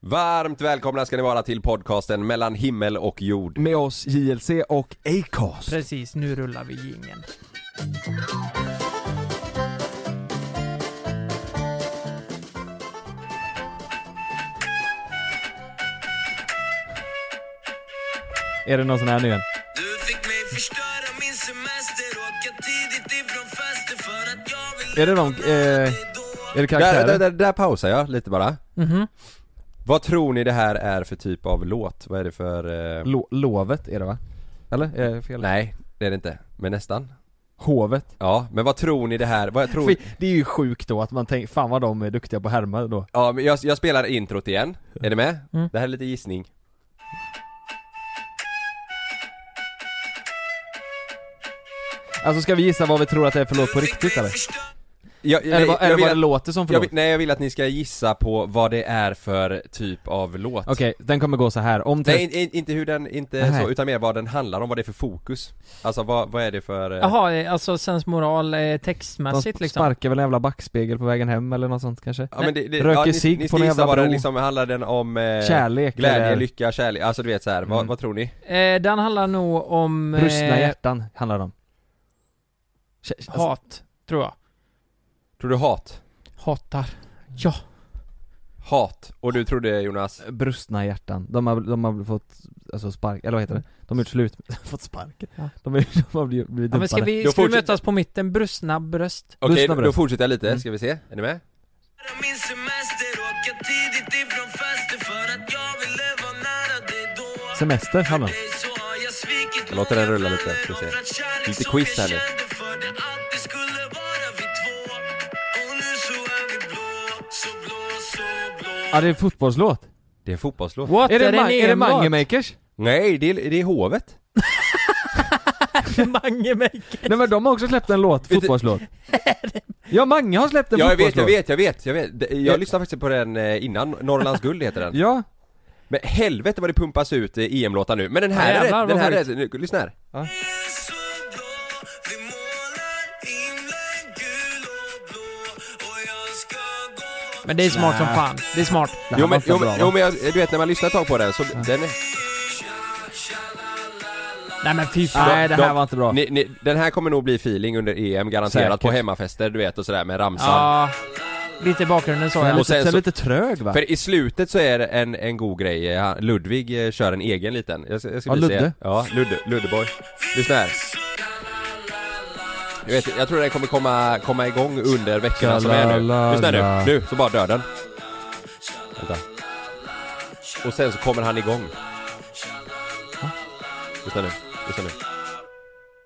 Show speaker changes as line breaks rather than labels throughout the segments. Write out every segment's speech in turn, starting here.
Varmt välkomna ska ni vara till podcasten mellan himmel och
Mm,
jord.
Med oss JLC och Acast.
Precis, nu rullar vi jingeln.
Är det någon sån här nu igen?
Du fick mig förstöra min semester Åka tidigt ifrån fester för att jag vill
Är det någon, eh, är det
Där,
karaktärer?
där, där, där pausar jag lite bara.
Mhm.
Vad tror ni det här är för typ av låt? Vad är det för... Eh...
Lo- lovet är det va? Eller? Är det fel?
Nej, det är det inte. Men nästan.
Hovet?
Ja, men vad tror ni det här... Vad jag tror...
Fy, Det är ju sjukt då att man tänker, fan vad de är duktiga på att härma då.
Ja, men jag, jag spelar introt igen. Är ni med?
Mm.
Det här är lite gissning.
Alltså ska vi gissa vad vi tror att det är för låt på riktigt eller?
Jag,
Eller vad, eller
vill
vad det
att-
låter som för
jag
låt?
vill, Nej, jag vill att ni ska gissa på vad det är för typ av låt.
Okej, den kommer gå så här. om
Nej,
tre...
in, in, inte hur den, inte
Nej.
så, utan mer vad den handlar om, vad det är för fokus. Alltså vad, vad är det för... eh,
Jaha, eh, alltså sensmoral eh,
De
textmässigt liksom?
sparkar väl en jävla backspegel på vägen hem eller något sånt kanske?
Ja, men det, det,
Röker
ja, ni-
cigg
ni
på
ska
en
gissa
jävla
vad den
bro.
liksom, handlar den om eh,
Kärlek
glädje,
eller-
lycka, kärlek, alltså du vet så här, vad,
Mm.
vad tror ni?
Eh, den handlar nog om... eh,
Brustna hjärtan handlar det om. Kä- Alltså,
Hat, tror jag.
Tror du hat?
Hatar. Ja.
Hat? Och du trodde Jonas?
brustna hjärtan. De har, de har fått, alltså spark, eller vad heter det? De har gjort slut, fått spark.
Ja.
De, är, de har blivit, blivit
ja men ska
dumpade.
vi,
Då
ska vi
fortsätter-
mötas på mitten? Brustna bröst.
Okej,
Lyssna på
då
det.
fortsätter jag lite,
Mm.
ska vi se, är ni med?
Förstöra min semester Åka tidigt ifrån fester för att jag vill vara nära dig då
Semester
För
handlar det om.
dig så har jag svikit
Jag låter den
många
rulla lite,
vänner,
ska vi se.
offrat kärlek
Lite
som
quiz
jag
här nu.
kände För det alltid skulle vara vi två Och nu så är vi blå, så blå, så blå
Ja det är fotbollslåt.
Det är en fotbollslåt.
What?
Är det, Ma-
en
är det
egen
Mange
låt?
Makers?
Nej, det är, det är hovet.
Mange Maker.
Nej men de har också släppt en låt,
Vet du-
fotbollslåt. Ja Mange har släppt en
Ja, jag vet,
fotbollslåt.
jag vet, jag vet, jag vet. Det- Jag
Jag-
lyssnade faktiskt på den eh, innan, Norrlands guld heter den.
Ja.
Men helvete vad det pumpas ut eh, EM-låtar nu. Men den här
Ja,
är
jävlar,
rätt, den
vad
här är rätt, nu, lyssna här.
så blå Vi målar himlen gul och blå Och jag ska gå
Men det är smart som
Nä.
fan. Det är smart.
Det här
Jo
var
men,
inte
jo,
bra,
men,
va?
jo, men jag, du vet när man lyssnar ett tag på den så, den är,
Nej men fy fan.
Nej det här
de-
var inte bra.
ni, ni, den här kommer nog bli feeling under EM garanterat
Säkert.
på hemmafester du vet och sådär med ramsan.
Ja. Lite i bakgrunden så
Den är
ja.
och
lite,
sen
den är
så-
lite trög va?
För i slutet så är det en, en god grej, Eh, han- Ludvig eh, kör en egen liten, jag ska, jag ska
Ja,
visa er.
Ludde.
Ja, Ludde, Luddeboy Lyssna här jag, vet, jag tror den kommer komma, komma igång under veckorna som är nu Lyssna nu, nu, så bara dör den Vänta Och sen så kommer han igång Lyssna nu, lyssna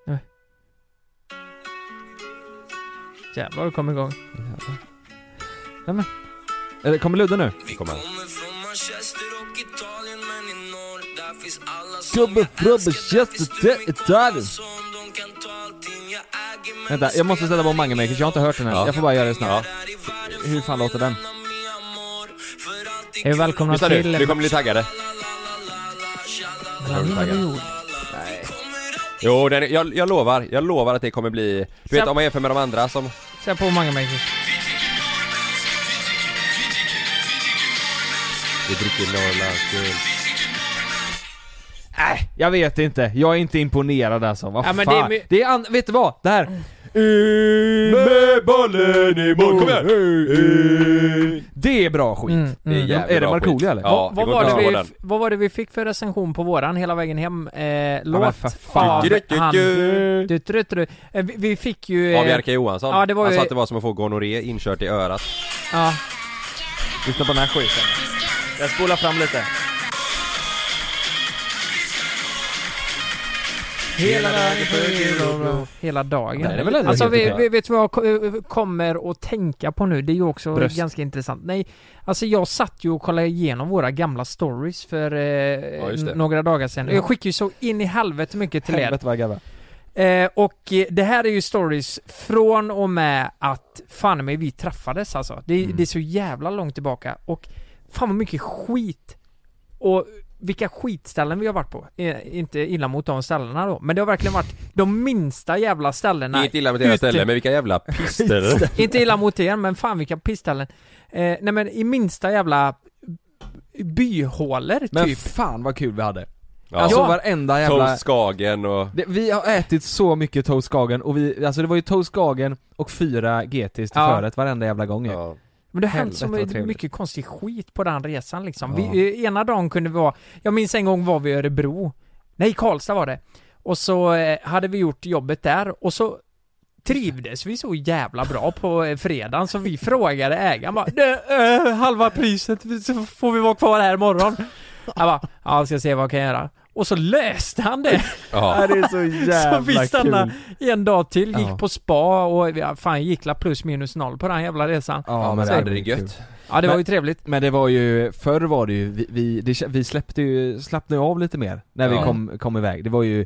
nu
Jävlar du kom igång.
Eller, kommer Ludde nu?
Vi
Kommer.
kommer från Manchester och Italien men i norr där finns alla
Kommer från Manchester till Italien. Vänta, jag måste ställa på Mange Makers, jag har inte hört den än.
Ja.
Jag får bara göra det snabbt.
Ja.
Hur fan låter den?
Hej och välkomna
Lyssna nu,
till...
nu kommer ni bli taggade
Mellan himmel och jord.
Jo, den, är- jag, jag lovar, jag lovar att det kommer bli Du vet om man jämför med de andra som
Sätt på Mange Makers.
Vi dricker Norrlandsguld
Nej, jag vet inte. Jag är inte imponerad alltså. Vad
Ja,
fan?
men
Det är,
det är my-
an... Vet du vad? Det här. In med bollen i mål. Kom igen! Det är bra skit.
Mm,
Det
mm.
är jävligt
Är det
bra
Markoolio,
skit.
eller?
Ja,
vad,
går
var
inte att
det vi,
slå den.
vad var det vi fick för recension på våran hela vägen hem eh,
men
låt
för fan.
av
Du, du,
han...
du.
Du, du, du. Eh, Vi, vi fick ju... eh,
Av Jerka Johansson?
ja, det var
Han
ju-
sa att det var som att få gonorré inkört i örat
eh, ja.
Lyssna på den här skiten. Jag spolar fram lite.
Hela dagen Hela dagen.
Den är väl ändå
alltså
helt
vi,
okej.
vi, vet du vad jag ko- eh, kommer att tänka på nu? Det är ju också
Bröst.
ganska intressant. Nej, alltså jag satt ju och kollade igenom våra gamla stories för eh,
just det.
n- några dagar sedan. Och Jag skickade ju så in i helvete mycket till er.
Helvete vad jag garvar.
Eh, och eh, det här är ju stories från och med att fan mig vi träffades alltså. Det, är-
Mm.
det är så jävla långt tillbaka och fan vad mycket skit och vilka skitställen vi har varit på. Eh, inte illa mot de ställena då, men det har verkligen varit de minsta jävla
Det är
ställena.
Inte illa med deras
Ut-
ställe, men vilka jävla pister
Inte illa mot er, men fan vilka pissställen. Eh, nej men i minsta jävla byhålor
Men
typ.
fan vad kul vi hade.
Ja.
Alltså
Ja.
varenda jävla...
Toast Skagen och...
Det, vi har ätit så mycket Toast Skagen och vi, alltså det var ju Toast Skagen och fyra GTs till
Ja.
förrätt varenda jävla gång ju.
Ja.
Men det har hänt så
Helvete, vad
mycket
trevligt.
mycket konstig skit på den resan liksom.
Ja.
Vi, eh, ena dagen kunde vi vara, jag minns en gång var vi i Örebro. Nej, Karlstad var det. Och så eh, hade vi gjort jobbet där och så trivdes vi så jävla bra på eh, fredagen så vi frågade ägaren bara "Du, eh, halva priset vi- så får vi vara kvar här imorgon. Jag bara, ja ska se vad jag kan göra. Och så löste han det!
Ja.
det är så
Så vi stannade en dag till, gick
Ja.
på spa och ja, fan gick la plus minus noll på den jävla resan.
ja, men det
är
hade det
kul.
gött.
Ja det var
Men-
ju trevligt.
Men det var ju, förr var det ju, vi, vi, det, vi släppte ju, slappnade ju av lite mer när vi
Ja.
kom, kom iväg. Det var ju,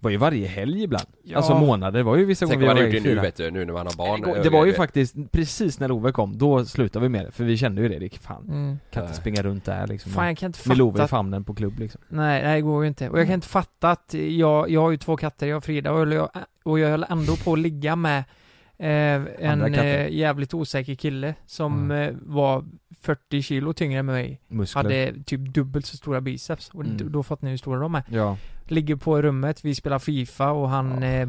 var ju varje helg ibland.
Ja.
Alltså månader, det var ju vissa
Tänk
gånger
om
vi
man
var
gjorde det
iväg
nu
fyra.
vet du, nu när man har barn. Eh,
Det- Det var ju
Jag-
faktiskt, precis när Ove kom, då slutade vi med det, för vi kände ju det, det fan,
Mm.
kan inte
Nej.
springa runt där liksom
Fan jag kan inte
Med Love
fatta
i famnen på klubb liksom.
Nej, nej, det går ju inte. Och jag kan inte fatta att jag, jag har ju två katter, jag och Frida, och jag, och jag höll ändå på att ligga med eh, en
Andra katter. Mm.
eh, jävligt osäker kille som eh, var 40 kilo tyngre än mig.
Muskler.
Hade typ dubbelt så stora biceps. Och
Mm.
d- då fattar ni hur stora de är.
Ja.
Ligger på i rummet, vi spelar FIFA och han eh, eh,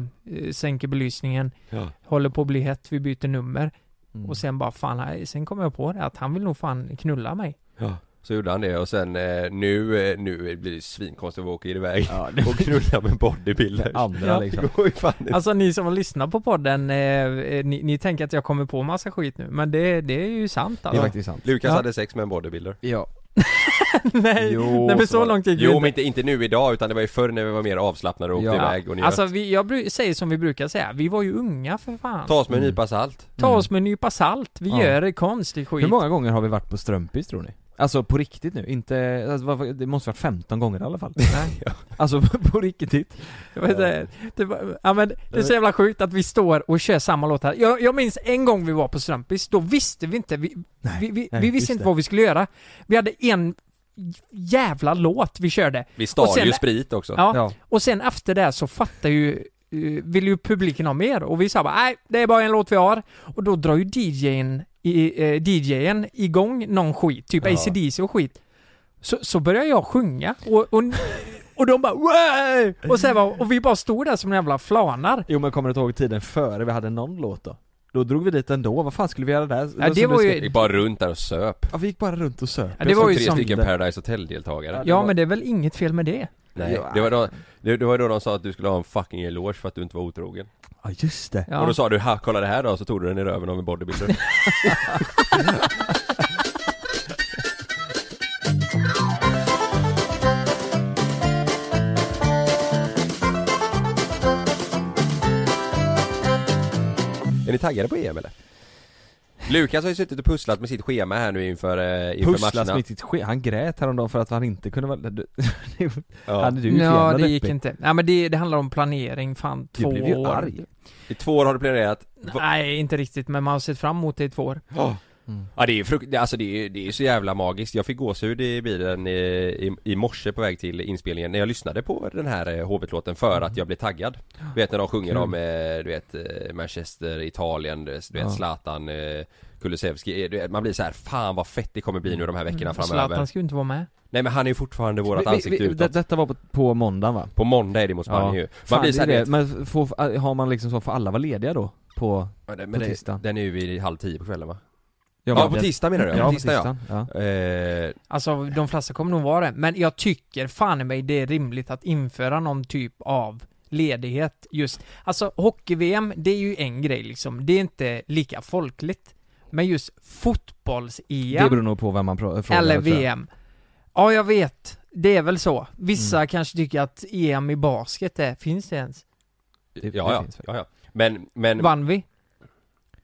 sänker belysningen.
Ja.
Håller på att bli hett, vi byter nummer.
Mm.
Och sen bara fan, nej, sen kommer jag på det att han vill nog fan knulla mig.
Ja. Så gjorde han det och sen eh, nu, eh, nu blir det svinkonstigt att vi åker iväg och knulla med bodybuilders.
Andra
Ja.
liksom.
Det går ju fan inte.
Alltså ni som har lyssnat på podden, eh, eh, ni, ni tänker att jag kommer på massa skit nu, men det, det är ju sant
Det är
alltså.
faktiskt sant.
Lukas
Ja.
hade sex med en bodybuilder.
Ja.
nej,
Jo,
nej
så var
men så
det.
långt gick
Jo
vi
men inte, inte nu idag utan det var ju förr när vi var mer avslappnade och åkte
Ja.
iväg och njöt.
Alltså vi, jag bru- säger som vi brukar säga, vi var ju unga för fan. Ta,
Ta oss med en
Mm.
nypa salt.
oss med en nypa salt, vi
Ja.
gör konstig skit.
Hur många gånger har vi varit på Strömpis tror ni? Alltså på riktigt nu, inte, alltså, vad- det måste varit 15 gånger i alla fall.
Nej,
Alltså på riktigt.
jag vet inte. det, var- ja, men det är så jävla sjukt att vi står och kör samma låt här. Jag, jag minns en gång vi var på Strömpis, då visste vi inte, vi, vi, vi,
nej,
vi
just
visste inte
det.
vad vi skulle göra. Vi hade en jävla låt vi körde.
Vi
Och
stal
sen-
ju sprit också.
Ja.
Ja.
Och sen efter det så fattar ju eh, vill ju publiken ha mer och vi sa bara nej, det är bara en låt vi har. Och då drar ju DJn, i, eh, DJn igång någon skit, typ
Ja.
AC/DC och skit. Så, så börjar jag sjunga och, och, och de bara Way! och, sen bara, och vi bara stod där som jävla flanar.
Jo men kommer du inte ihåg tiden före vi hade någon låt då? Då drog vi dit ändå, vad fan skulle vi göra där?
Ja, det
Som
var
du
Vi
ju,
gick bara runt där och söp.
Ja, vi gick bara runt och söp.
Ja, det var ju
tre
som-
stycken Paradise Hotel-deltagare.
ja men det är väl inget fel med det.
Nej,
Ja.
det var, då, det, det var då de sa att du skulle ha en fucking eloge för att du inte var otrogen.
Ja just det.
Och
Ja.
då sa du ha, kolla det här då, så tog du den i röven av en bodybuilder. Är ni taggade på EM eller? Lukas har ju suttit och pusslat med sitt schema här nu inför, eh, inför
Pusslas
matcherna.
mitt sitt ske- han grät häromdagen för att han inte kunde vara... Du,
Ja.
Hade du ju för
Ja,
jävla
det gick
deppig.
inte. Nej men det, det handlar om planering, fan två
Du blev ju
år.
arg.
I två år har du planerat. Va-
Nej, inte riktigt, men man har sett fram emot det i två år.
Ja det är frukt... alltså det är, det är så jävla magiskt. Jag fick gåshud i bilen i, i, i morse på väg till inspelningen när jag lyssnade på den här eh, HV-låten för
Mm.
att jag blev taggad. Du vet när de sjunger om, eh, du vet eh, Manchester, Italien, du vet
Ja.
Zlatan, eh, Kulusevski. Eh, du vet, Man blir så här, fan vad fett det kommer bli nu de här veckorna framöver.
Mm, Zlatan ska ju inte vara med.
Nej men han är ju fortfarande vårat
Mm. Vi- vi-
ansikte
vi- det-
utåt.
Detta var på, på måndag va?
På måndag är det mot Spanien ju. Man
Fan,
blir så här,
det är
du
det. Men får, har man liksom så, får alla vara lediga då? På...
vet, men
på
det-
tisdagen.
Den är ju vid halv tio på kvällen va?
Ja,
Ja
men-
på tisdag menar du?
Ja,
på tisdag ja.
ja.
Eh,
Alltså de flesta kommer nog vara det, men jag tycker fan i mig det är rimligt att införa någon typ av ledighet just. Alltså hockey-VM, det är ju en grej liksom. Det är inte lika folkligt. Men just
Det beror
fotbolls-EM
nog på vem man pra- frågar
eller
tror jag.
VM. Ja, jag vet. Det är väl så. Vissa
Mm.
kanske tycker att EM i basket är, finns det ens?
ja,
det
ja,
finns väl.
ja, ja. Men, men,
Vann vi?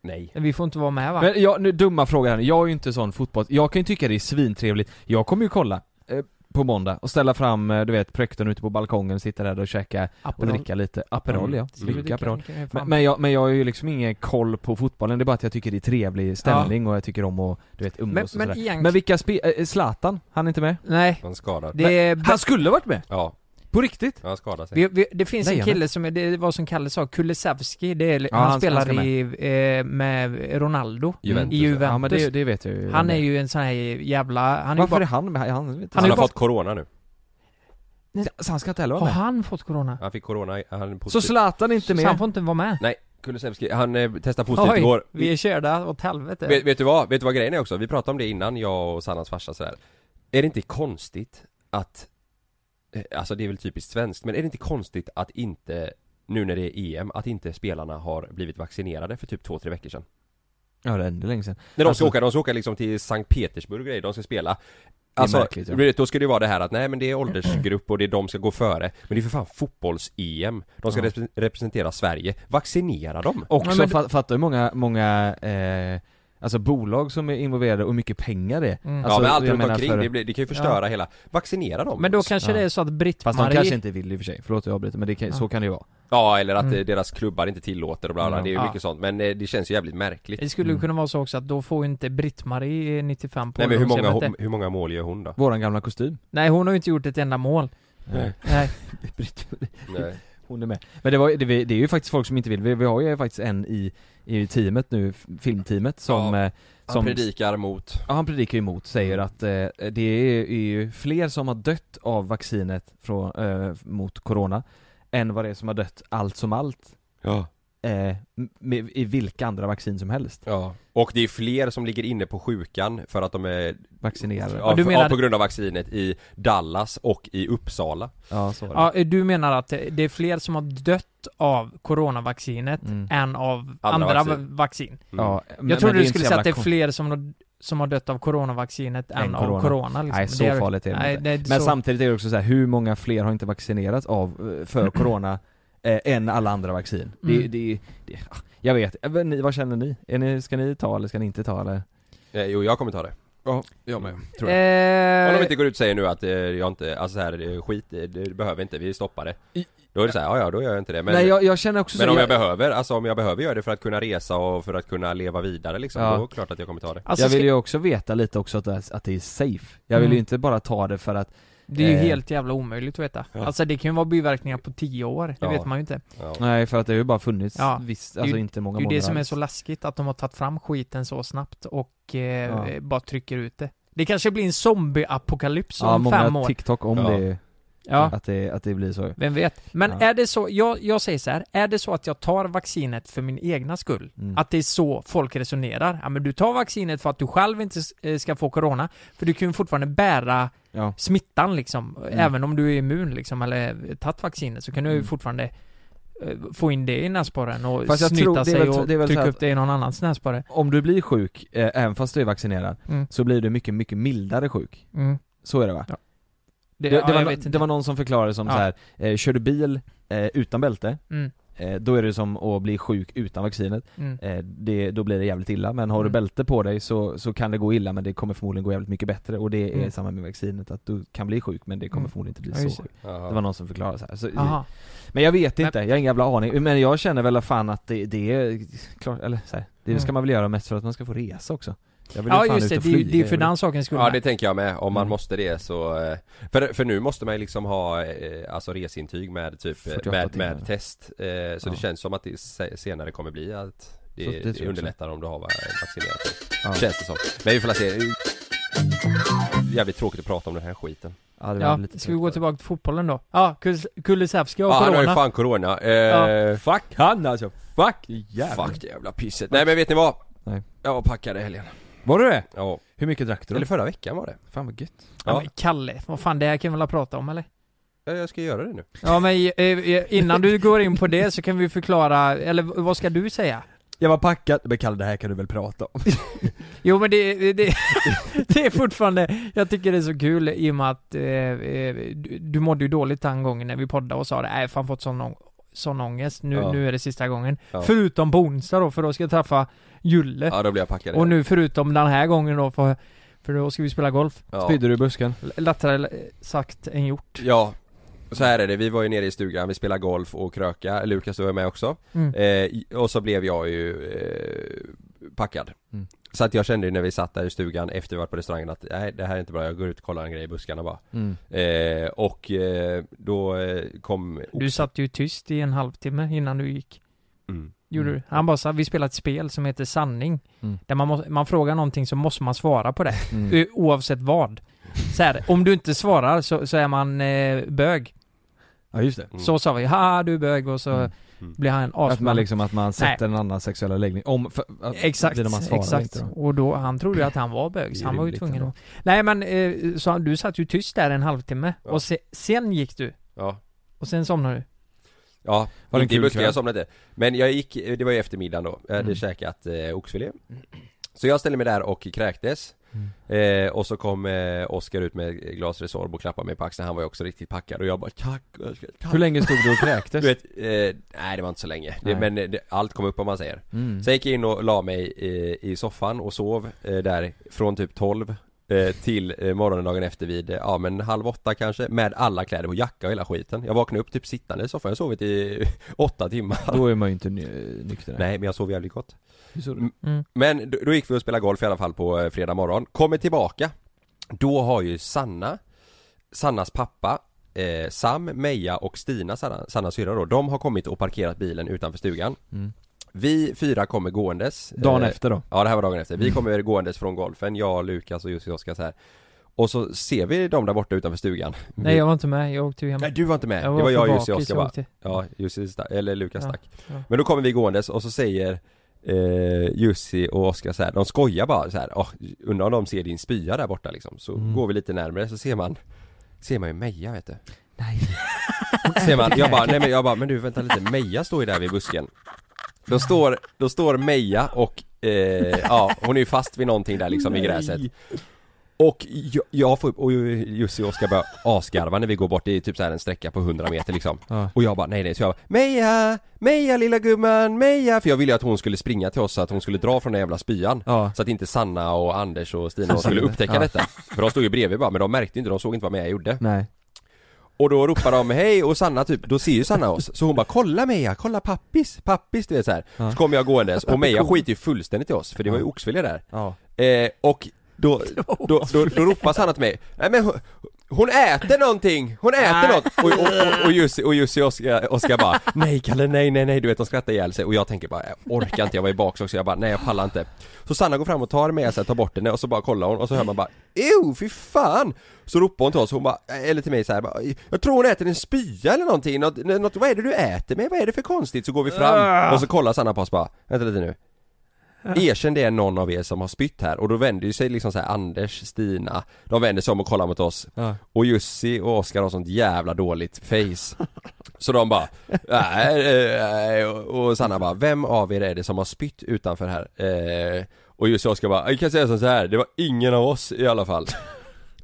nej.
Vi får inte vara med va?
Men jag, nu dumma frågan här, jag är ju inte sån fotboll, jag kan ju tycka det är svintrevligt, jag kommer ju kolla eh, på måndag och ställa fram, eh, du vet, präkten ute på balkongen, sitta där och käka och
Aperol.
dricka lite Aperol ja,
Ska vi
mycket Mm. Aperol
dricka? Det kan jag
men,
fan-
men, jag, men jag har ju liksom ingen koll på fotbollen, det är bara att jag tycker det är trevlig stämning och jag tycker om att, du vet,
Men,
umgås
men
och sådär
egentligen...
Men vilka spe- eh, Zlatan, eh, han är inte med?
Nej,
Han skadad.
det är...
Han skulle varit med!
Ja.
På riktigt?
Ja, han skadade sig.
Vi, vi, det finns en
Lejonet.
kille som, är- det var som Kalle sa, Kulusevski, det är, han,
han ska-
spelar
han ska
i, eh, med Ronaldo
Juventus,
i
ja.
Juventus.
Ja men det, det vet jag ju
Han är ju en sån här jävla, han är ju
Varför
bara,
är han med? Han, vet
Han,
Han
inte. Alltså,
är
har
ju bara-
fått corona nu.
Så han ska inte heller vara
har
med?
han fått corona?
Han fick corona, han är
Så
positiv.
Zlatan är inte
Så han
med?
får inte vara med?
Nej, Kulusevski, han eh, testade positivt igår.
vi är körda åt helvete.
Vet, vet du vad? Vet du vad grejen är också? Vi pratade om det innan, jag och Sannas farsa sådär. Är det inte konstigt att eh, Alltså det är väl typiskt svenskt, men är det inte konstigt att inte Nu när det är EM, att inte spelarna har blivit vaccinerade för typ två tre veckor sedan?
Ja det är ännu länge sedan
När de
Alltså-
ska åka, de ska åka liksom till Sankt Petersburg och grejer, de ska spela
är
Alltså,
märkligt, ja.
du vet, då ska det ju vara det här att nej men det är åldersgrupp och det är de ska gå före Men det är för fan fotbolls-EM De ska
Ja. Alltså,
repre- representera Sverige, vaccinera dem!
Också
Ja, men-
fa- fattar hur många, många eh, Alltså bolag som är involverade och hur mycket pengar det är
Mm.
alltså,
ja men allt
jag
runt
menar
omkring,
för-
det, blir, det kan ju förstöra hela Vaccinera dem!
Men då kanske
Ja.
det är så att
Fast de kanske
Britt-Marie...
inte vill i och för sig, förlåt att jag avbryter men det kan,
Ja.
så kan det ju vara
Ja eller att
Mm.
eh, deras klubbar inte tillåter och bla bla,
Mm. Ja.
det är ju
Ja.
mycket sånt men eh, det känns ju jävligt märkligt
Det skulle ju
Mm.
kunna vara så också att då får ju inte Britt-Marie 95 på
Nej men hur många,
ungdomshebbet.
hur många mål gör hon då?
Våran gamla kostym Eh,
Nej hon har ju inte gjort ett enda mål.
Nej.
Nej.
Britt-
Nej.
Hon är med. Men det, var, det, det är ju faktiskt folk som inte vill, vi, vi har ju faktiskt en i, i teamet nu, f- filmteamet som,
Ja,
eh,
Han
som
predikar mot
ja, han predikar ju emot, säger att eh, det är, är ju fler som har dött av vaccinet från, eh, mot corona än vad det är som har dött allt som allt
Ja
eh, med, i vilka andra vaccin som helst
Ja, och det är fler som ligger inne på sjukan för att de är
vaccinerade.
Ja,
du
för-
menar-
ja, på grund av vaccinet i Dallas och i Uppsala.
Ja, så var det.
Ja, du menar att det det är fler som har dött av coronavaccinet
Mm.
än av
Andra
andra,
vaccin.
vaccin.
Ja, men- men
Jag trodde
är
du
inte
skulle
så
säga
jävla
att det är
kon-
fler som, har- som har dött av coronavaccinet än,
Än corona.
av corona liksom.
Nej, så
Det är-
farligt är det
nej,
inte.
det är inte
Men
så.
samtidigt är det också så här, hur många fler har inte vaccinerats av, eh, för corona eh, än alla andra vaccin? Det,
Mm.
det, det, ah, jag vet, Eh, men ni, vad känner ni? Är ni? Ska ni ta eller ska ni inte ta eller?
Eh, Jo, jag kommer ta det. Ja, jag med. Tror jag.
Eh,
Om de inte går ut och säger nu att eh, jag inte, alltså så här, eh, skit, eh, det behöver inte, vi stoppar det. Då är det så här, ja, ja då gör jag inte det. Men,
Nej jag, jag känner också
men
så,
om jag, behöver, alltså om jag behöver göra det för att kunna resa och för att kunna leva vidare liksom,
Ja.
då är det klart att jag kommer ta det.
alltså,
jag vill
ska-
ju också veta lite också att, det är- att det är safe. Jag vill ju
Mm.
inte bara ta det för att,
Det är ju
eh,
helt jävla omöjligt att veta.
Ja.
Alltså det kan ju vara biverkningar på 10 år, det
Ja.
vet man ju inte.
Ja.
nej för att det har ju bara funnits
Ja,
visst,
är
alltså
ju-
inte många
Det är ju
månader
det som är
alls.
så läskigt, att de har tagit fram skiten så snabbt och eh,
Ja.
bara trycker ut det. Det kanske blir en zombie-apokalyps
Ja,
om fem
många
år.
TikTok om
Ja.
det,
Ja.
att det, att det blir så.
Vem vet? Men
Ja.
är det så, jag, jag säger så här, är det så att jag tar vaccinet för min egna skull?
Mm.
Att det är så folk resonerar? Ja men du tar vaccinet för att du själv inte s- eh, ska få corona, för du kan ju fortfarande bära
Ja.
smittan liksom.
Mm.
Även om du är immun liksom, eller tagit vaccinet, så kan du ju
Mm.
fortfarande eh, få in det i näsborren och
Fast jag
snyta
tror- det är
sig
väl-
och
det är väl så
trycka
här
upp det i någon annans näsborre.
Om du blir sjuk, eh, även fast du är vaccinerad,
Mm.
så blir du mycket, mycket mildare sjuk.
Mm.
Så är det va?
Ja.
Det,
Det,
det,
ja,
var,
jag
no-
vet
det
inte.
var någon som förklarade som
Ja.
så här, eh, kör du bil eh, utan bälte,
Mm.
eh, då är det som att bli sjuk utan vaccinet.
Mm.
Eh, det, då blir det jävligt illa, men har du
Mm.
bälte på dig så, så kan det gå illa men det kommer förmodligen gå jävligt mycket bättre och det är
Mm.
samma med vaccinet, att du kan bli sjuk men det kommer
Mm.
förmodligen inte
Ja,
bli
just
så sjuk.
Ja.
Det var någon som förklarade så här. Så,
Aha.
men jag vet
Men-
inte, jag har ingen jävla aning. Men jag känner väl fan att det, det är klart, eller så här, det
Mm.
ska man väl göra mest för att man ska få resa också. Jag vill ju
Ja
fan
just
ut
det,
och
det, är ju-
flyga,
det är
jag
för
vill-
den sakens skull.
Ja det tänker jag med, om man
Mm.
måste det så eh, för, för nu måste man ju liksom ha eh, alltså resintyg med typ eh,
48
med,
timmar.
med test eh, Så
Ja.
det känns som att det se- senare kommer bli att
Så
det,
det tror
det,
jag också.
underlättar om du har va- vaccinerat dig.
Ja.
Känns det som. Men vi får la se Jävligt tråkigt att prata om den här skiten
Ja, det var
Ja,
lite
ska vi gå
trött.
tillbaka till fotbollen då? Ja, Kus- Kulusevski
Ja
har
han har Ah, ju
corona.
fan corona, eh,
Fuck han alltså, fuck jävlar.
fuck det jävla pisset Nej men vet ni vad?
Nej.
Jag var packad i helgen
Var du det?
Ja,
Hur mycket drack du då?
eller förra veckan var det
Fan vad gött.
Ja,
Ja,
men Kalle, vad fan det här kan vi väl prata om eller?
ja jag ska göra det nu
Ja men eh, innan du går in på det så kan vi förklara, eller vad ska du säga?
Jag var packad, men Kalle det här kan du väl prata om?
Jo men det, det, det är fortfarande, jag tycker det är så kul i och med att eh, eh, du, du mådde ju dåligt den gången när vi poddade och sa det, nej fan fått sån, ång- sån ångest, nu,
Ja.
nu är det sista gången.
Ja.
Förutom på onsdag då, för då ska jag träffa Julle.
Ja då blir jag packad i
och
helgen.
nu förutom den här gången då, för, för då ska vi spela golf.
ja.
Spydde du i busken?
L- Lättare eh, sagt än gjort.
Ja, så här är det, vi var ju nere i stugan, vi spelade golf och kröka, Lukas var med också
Mm.
eh, Och så blev jag ju eh, packad
Mm.
Så att jag kände ju när vi satt där i stugan efter vi varit på restaurangen att nej det här är inte bra, jag går ut och kollar en grej i buskarna bara.
Mm.
Eh, och eh, då eh, kom...
Du satt ju tyst i en halvtimme innan du gick.
Mm.
Gjorde du? Han bara sa, vi spelar ett spel som heter sanning.
Mm.
Där man, måste, man frågar någonting så måste man svara på det.
Mm.
Ö- Oavsett vad. Så här, om du inte svarar så, så är man eh, bög.
Ja just det.
Mm.
Så sa vi, ha du är bög och så
Mm.
Mm.
blir han
Att man
asman.
liksom, att man sätter en annan sexuella läggning om, för, att,
Exakt,
det är när man svarar
exakt.
inte då.
Och då, han trodde ju att han var bög,
Det
så
är
han var ju
rimligt
tvungen
ändå.
att... Nej men, eh, så han, du satt ju tyst där en halvtimme,
Ja.
och se, sen gick du,
Ja.
och sen somnade du.
Ja,
Var det en
inte i
kul
busken,
kväll?
jag somnade inte. Men jag gick, det var ju eftermiddagen då, jag hade
Mm.
käkat eh, oxfilé. Så jag ställde mig där och kräktes.
Mm.
Eh, och så kom eh, Oskar ut med ett glas Resorb och klappade mig på axeln, han var ju också riktigt packad och jag bara tack, Oskar, tack.
Hur länge stod du och
Du
kräktes?
vet, eh, nej det var inte så länge, det,
Nej.
men eh, det, allt kom upp om man säger.
Mm.
Sen gick jag in och la mig eh, i soffan och sov eh, där från typ 12 eh, till eh, morgonen dagen efter vid, eh, ja men halv åtta kanske, med alla kläder på, jacka och hela skiten. Jag vaknade upp typ sittande i soffan, jag har sovit i åtta timmar.
Då är man ju inte ny- nykter.
Nej men jag sov jävligt gott.
Hur såg det ut?
Mm.
Mm.
Men då, då gick vi och spelade golf i alla fall på eh, fredag morgon. Kommer tillbaka. Då har ju Sanna, Sannas pappa, eh, Sam, Meja och Stina, Sanna, Sannas syrra då, de har kommit och parkerat bilen utanför stugan.
Mm.
Vi fyra kommer gåendes.
Dagen
Eh,
efter då?
Ja det här var dagen efter.
Mm.
Vi kommer gåendes från golfen, jag, Lukas och Jussi och Oskar så här. Och så ser vi dem där borta utanför stugan.
Mm.
Nej jag var inte med, jag åkte ju hem.
Nej du var inte med,
jag
det var jag,
för
Jussi och
bakis,
Oskar
jag
bara.
åkte.
Ja, Jussi stack, eller Lukas
Ja,
stack.
ja.
Men då kommer vi gåendes och så säger eh, Jussi och Oskar så här, de skojar bara så här, "Åh, undrar om de ser din spya där borta liksom. Så
Mm.
går vi lite närmare så ser man Ser man ju Meja vet du.
Nej.
Ser man, jag bara, nej men jag bara, men du vänta lite, Meja står ju där vid busken. Då står, då står Meja och, eh, ja hon är ju fast vid någonting där liksom i gräset. Och jag, jag får upp, och Jussi och Oskar börjar asgarva när vi går bort, det är typ så här en sträcka på 100 meter liksom.
Ja.
Och jag bara nej nej, så jag bara Meja, Meja lilla gumman, Meja! För jag ville ju att hon skulle springa till oss så att hon skulle dra från den jävla spyan.
Ja.
Så att inte Sanna och Anders och Stina de skulle upptäcka
Ja.
detta. För de stod ju bredvid bara, men de märkte inte, de såg inte vad Meja gjorde.
Nej.
Och då ropar de hej och Sanna typ, då ser ju Sanna oss. Så hon bara kolla Meja, kolla pappis, pappis du vet så här.
Ja.
Så kommer jag gåendes och Meja skiter ju fullständigt i oss för det var ju
Ja.
oxfilé där.
Ja.
Eh, och då, då, då, då ropar Sanna till mig, nej men hon, hon äter någonting, hon äter något! Och, och, och, och Jussi och, Jussi och Oskar, Oskar bara Nej Kalle, nej nej nej, du vet de skrattar ihjäl sig och jag tänker bara jag orkar inte, jag var i bak också, jag bara nej jag pallar inte Så Sanna går fram och tar med sig, tar bort henne och så bara kollar hon och så hör man bara Ew, fy fan! Så ropar hon till oss, hon bara, eller till mig så här, bara, Jag tror hon äter en spya eller någonting, något, något, vad är det du äter med? Vad är det för konstigt? Så går vi fram och så kollar Sanna på oss bara, vänta lite nu Erkänn det är någon av er som har spytt här och då vänder ju sig liksom så här Anders, Stina, de vänder sig om och kollar mot oss
Ja.
och Jussi och Oskar har sånt jävla dåligt face Så de bara, nej, eh, nej, och och Sanna bara, vem av er är det som har spytt utanför här? Eh, Och Jussi och Oskar bara, jag kan säga som så här, det var ingen av oss i alla fall